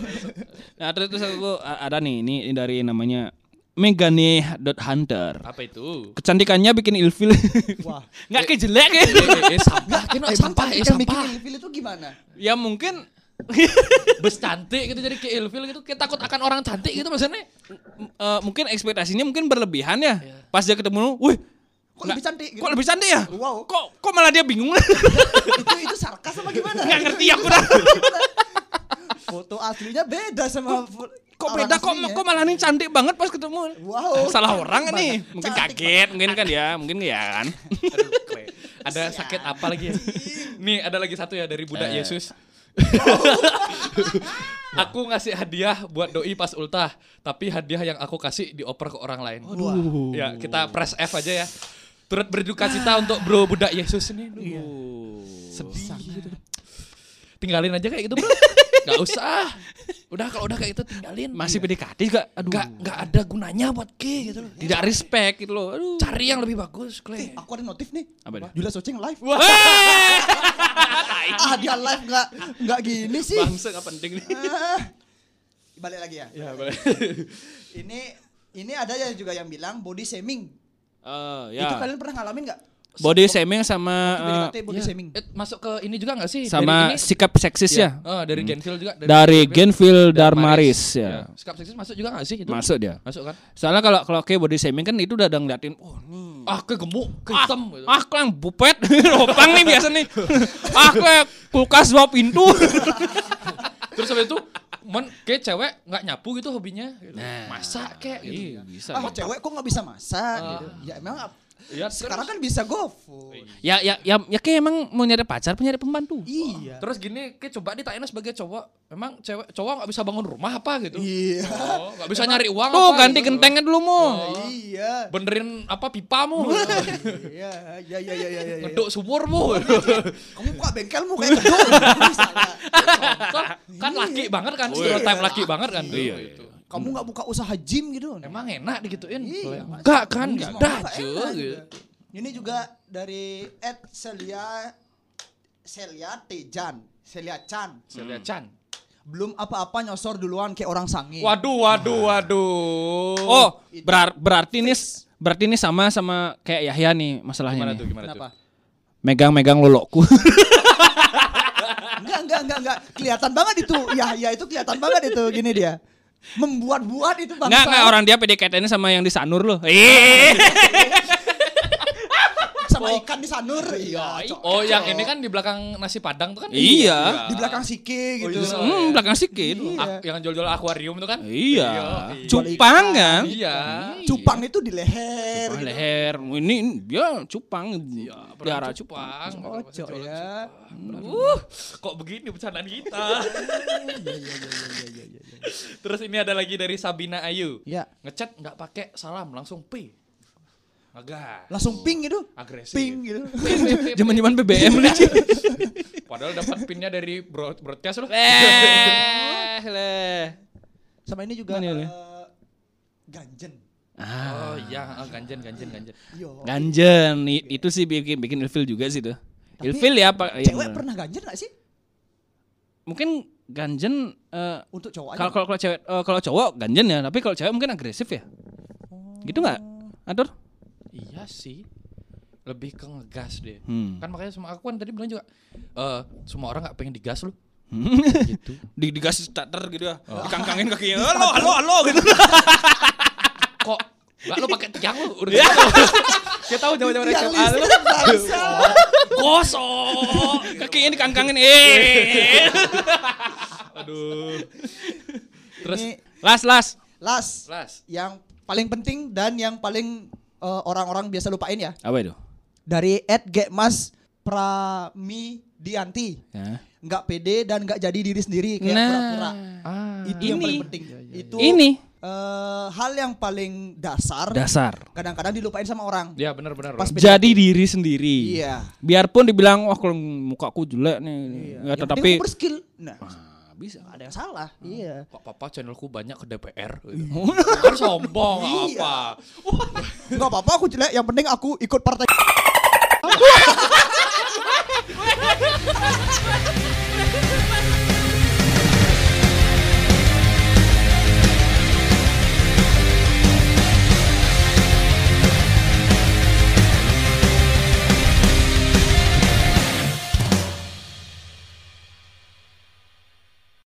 S2: Nah terus terus aku a- ada nih ini ini dari namanya Megane.hunter.
S4: Apa itu?
S2: Kecantikannya bikin ilfil.
S3: Wah.
S2: *laughs* Nggak kejelek ya.
S4: eh, eh, sampah, kena
S3: Emang
S4: sampah, eh,
S3: cantik yang bikin
S4: sampah.
S3: ilfil itu gimana?
S2: ya mungkin
S4: bus cantik gitu jadi kayak ilfil gitu kayak takut akan orang cantik gitu maksudnya
S2: M- eh, mungkin ekspektasinya mungkin berlebihan ya. Pas dia ketemu, wih,
S4: Nah,
S3: Kok
S2: nggak-
S3: lebih cantik? gitu?
S2: kok lebih cantik ya?
S3: Wow.
S2: Kok kok malah dia bingung? *laughs*
S3: itu itu sarkas apa gimana?
S2: Nggak ngerti aku dah.
S3: Foto aslinya beda sama fo-
S2: Kok
S3: orang
S2: beda kok
S3: aslinya.
S2: kok malah ini cantik banget pas ketemu.
S3: Wow.
S2: Salah orang kan
S3: Banget.
S2: nih. Mungkin
S3: Cantik
S2: kaget, mungkin kan ya, mungkin ya kan.
S4: Aduh, Kle. ada sakit apa
S3: *laughs*
S4: lagi ya? Nih ada lagi satu ya dari budak
S3: Eh.
S4: Yesus. aku ngasih hadiah buat doi pas ultah, tapi hadiah yang aku kasih dioper ke orang lain.
S3: Oh,
S4: Aduh. Ya, kita press F aja ya. Turut berduka cita untuk bro budak Yesus ini. Aduh, Iya. Sedih gitu. Tinggalin aja kayak gitu, Bro. Gak usah. Udah kalau udah kayak gitu tinggalin.
S2: Masih PDKT juga. Aduh.
S4: Gak, gak ada gunanya buat K gitu loh.
S2: Tidak respect gitu loh. Aduh.
S4: Cari yang lebih bagus, Kle.
S3: Aku ada notif nih.
S2: Apa dia?
S3: Julia Socing live. ah dia live nggak nggak gini sih.
S4: Bangsa gak penting nih.
S3: Ah. Balik lagi ya.
S4: Ya, boleh.
S3: Ini ini ada ya juga yang bilang body shaming.
S2: Eh,
S3: Itu
S2: ya.
S3: kalian pernah ngalamin nggak?
S2: Body shaming sama eh,
S3: PDKT body
S4: Ya.
S3: shaming.
S4: Eh, masuk ke ini juga gak sih?
S2: sama
S4: dari ini?
S2: sikap seksis ya.
S4: Oh, dari Genfil juga.
S2: Dari Genville
S4: dan
S2: Darmaris ya.
S4: Sikap seksis masuk juga gak sih? Itu?
S2: Masuk dia.
S4: Masuk kan?
S2: Soalnya kalau kalau kayak body shaming kan itu udah ada ngeliatin, oh nih
S4: Ah, kegemuk, kehitam. gitu.
S2: Ah, kelang bupet, *laughs* ropang nih biasa nih. ah, kayak kulkas dua pintu.
S4: Terus habis itu, men, kayak cewek gak nyapu gitu hobinya. Gitu. Masak kayak gitu.
S2: Iya, bisa.
S3: Ah, cewek kok nggak bisa masak?
S2: Ah.
S3: gitu. Ya emang ap-
S4: Iya,
S3: sekarang
S4: terus,
S3: kan bisa GoFood.
S2: *laughs* Ya, ya, ya, ya kayak emang mau nyari pacar, punya nyari pembantu.
S3: Iya.
S4: terus gini, kayak coba ditanya sebagai cowok, emang cewek cowok gak bisa bangun rumah apa gitu?
S3: Iya.
S4: Oh, gak bisa nyari uang
S2: Tuh,
S4: apa
S2: ganti
S4: gitu.
S2: gentengnya dulu mu.
S3: Iya.
S4: Benerin apa pipamu, gitu.
S3: Iya, iya, iya, iya, iya, iya.
S4: ngeduk sumurmu.
S3: Kamu buka bengkelmu kayak gedung. gitu,
S2: *laughs*
S3: misalnya.
S4: Contoh, kan laki banget kan, stereotype laki banget kan. Iya, itu.
S3: Kamu nggak buka usaha gym gitu.
S4: Emang enak digituin?
S3: Iya,
S4: Enggak kan, enggak
S3: Semua
S4: ada
S3: nggak
S4: aja
S3: enak
S4: gitu.
S3: juga. Ini juga dari Ed Celia Celia Tejan, Celia Chan.
S4: Saya lihat Chan.
S3: Belum apa-apa nyosor duluan kayak orang sange.
S4: Waduh, waduh, waduh.
S2: Oh, berar- berarti ini berarti ini sama sama kayak Yahya nih masalahnya
S4: gimana
S2: nih.
S4: tuh, gimana
S3: Kenapa?
S4: tuh?
S2: Megang-megang
S4: *laughs*
S2: lolokku.
S3: Enggak, enggak, enggak, enggak. Kelihatan banget itu. Ya, ya itu kelihatan banget itu gini dia. Membuat-buat itu bangsa.
S2: Enggak, enggak orang dia PDKT-nya sama yang disanur loh. Eh,
S3: sama ikan di sanur. Iya. cocok.
S4: Oh, yang ini kan di belakang nasi padang tuh kan?
S2: Iya.
S3: di belakang sike gitu.
S4: itu-
S2: Hmm, belakang sikit.
S4: Ak- yang jual-jual akuarium itu kan?
S2: Iya.
S4: Iya.
S2: Cupang kan?
S4: Iya.
S3: Cupang itu di leher.
S2: Cupang
S3: gitu.
S2: leher. Ini ini dia cupang. Darah cupang.
S4: Cupang.
S3: Cocok ya.
S4: Uh, kok begini bercandaan kita? Iya, Terus ini ada lagi dari Sabina Ayu.
S3: Ya.
S4: Ngechat nggak pakai salam langsung P.
S3: *laughs*
S4: Agak
S3: Langsung ping gitu.
S4: agresif.
S3: Ping gitu.
S2: Zaman-zaman BBM nih.
S4: Padahal dapat pinnya dari broad- broadcast loh.
S2: Eh, leh.
S3: Sama ini juga
S2: Mana ini?
S3: eh, ganjen.
S4: Oh iya, ah, ganjen ganjen ganjen.
S3: Yo.
S2: Ganjen i- itu sih bikin bikin ilfil juga sih tuh.
S3: Tapi
S2: ilfil ya pak. ya,
S3: Cewek
S2: bener.
S3: pernah ganjen gak sih?
S2: Mungkin ganjen eh,
S3: Untuk cowok aja. Iya,
S2: kalau kalau kalau cewek eh, kalau cowok ganjen ya, tapi kalau cewek mungkin agresif ya. Gitu nggak? Atur?
S4: Iya sih. Lebih ke ngegas deh.
S2: Hmm.
S4: Kan makanya semua aku kan tadi bilang juga eh semua orang nggak pengen digas loh.
S2: gitu. *laughs* Di digas starter gitu ya.
S4: Oh.
S2: Dikangkangin
S4: *laughs*
S2: kakinya. Halo, halo, halo gitu.
S4: Kok Mbak lo pakai tiang lo udah
S3: Iya.
S4: gitu. Kita tahu zaman-zaman
S2: Iya,
S4: SMA lu
S3: Oh.
S4: gosok.
S2: Oh, kakinya dikangkangin. Eh.
S4: *laughs* Aduh. Terus
S3: Ini
S2: las, las.
S3: last
S4: Las.
S3: yang paling penting dan yang paling eh, orang-orang biasa lupain ya.
S2: Apa itu?
S3: Dari Ed Gekmas Pramidianti.
S2: Ya.
S3: Nggak pede dan nggak jadi diri sendiri kayak
S2: Nah.
S3: pura-pura.
S4: Ah.
S3: Itu yang
S2: Ini.
S3: paling penting. Itu
S2: Ini
S3: eh, hal yang paling dasar.
S2: dasar.
S3: Kadang-kadang dilupain sama orang.
S4: Ya benar-benar.
S3: Pas PDKT.
S2: Jadi diri sendiri.
S3: Iya.
S2: Biarpun dibilang wah kalau mukaku jelek nih, ya,
S3: Yang penting
S2: tetapi
S3: aku berskill. Nah,
S2: bisa.
S3: ada yang salah. Iya.
S4: Kok papa channelku banyak ke DPR gitu. Kan sombong
S3: Iya.
S4: apa.
S3: Enggak apa-apa aku jelek, yang penting aku ikut partai.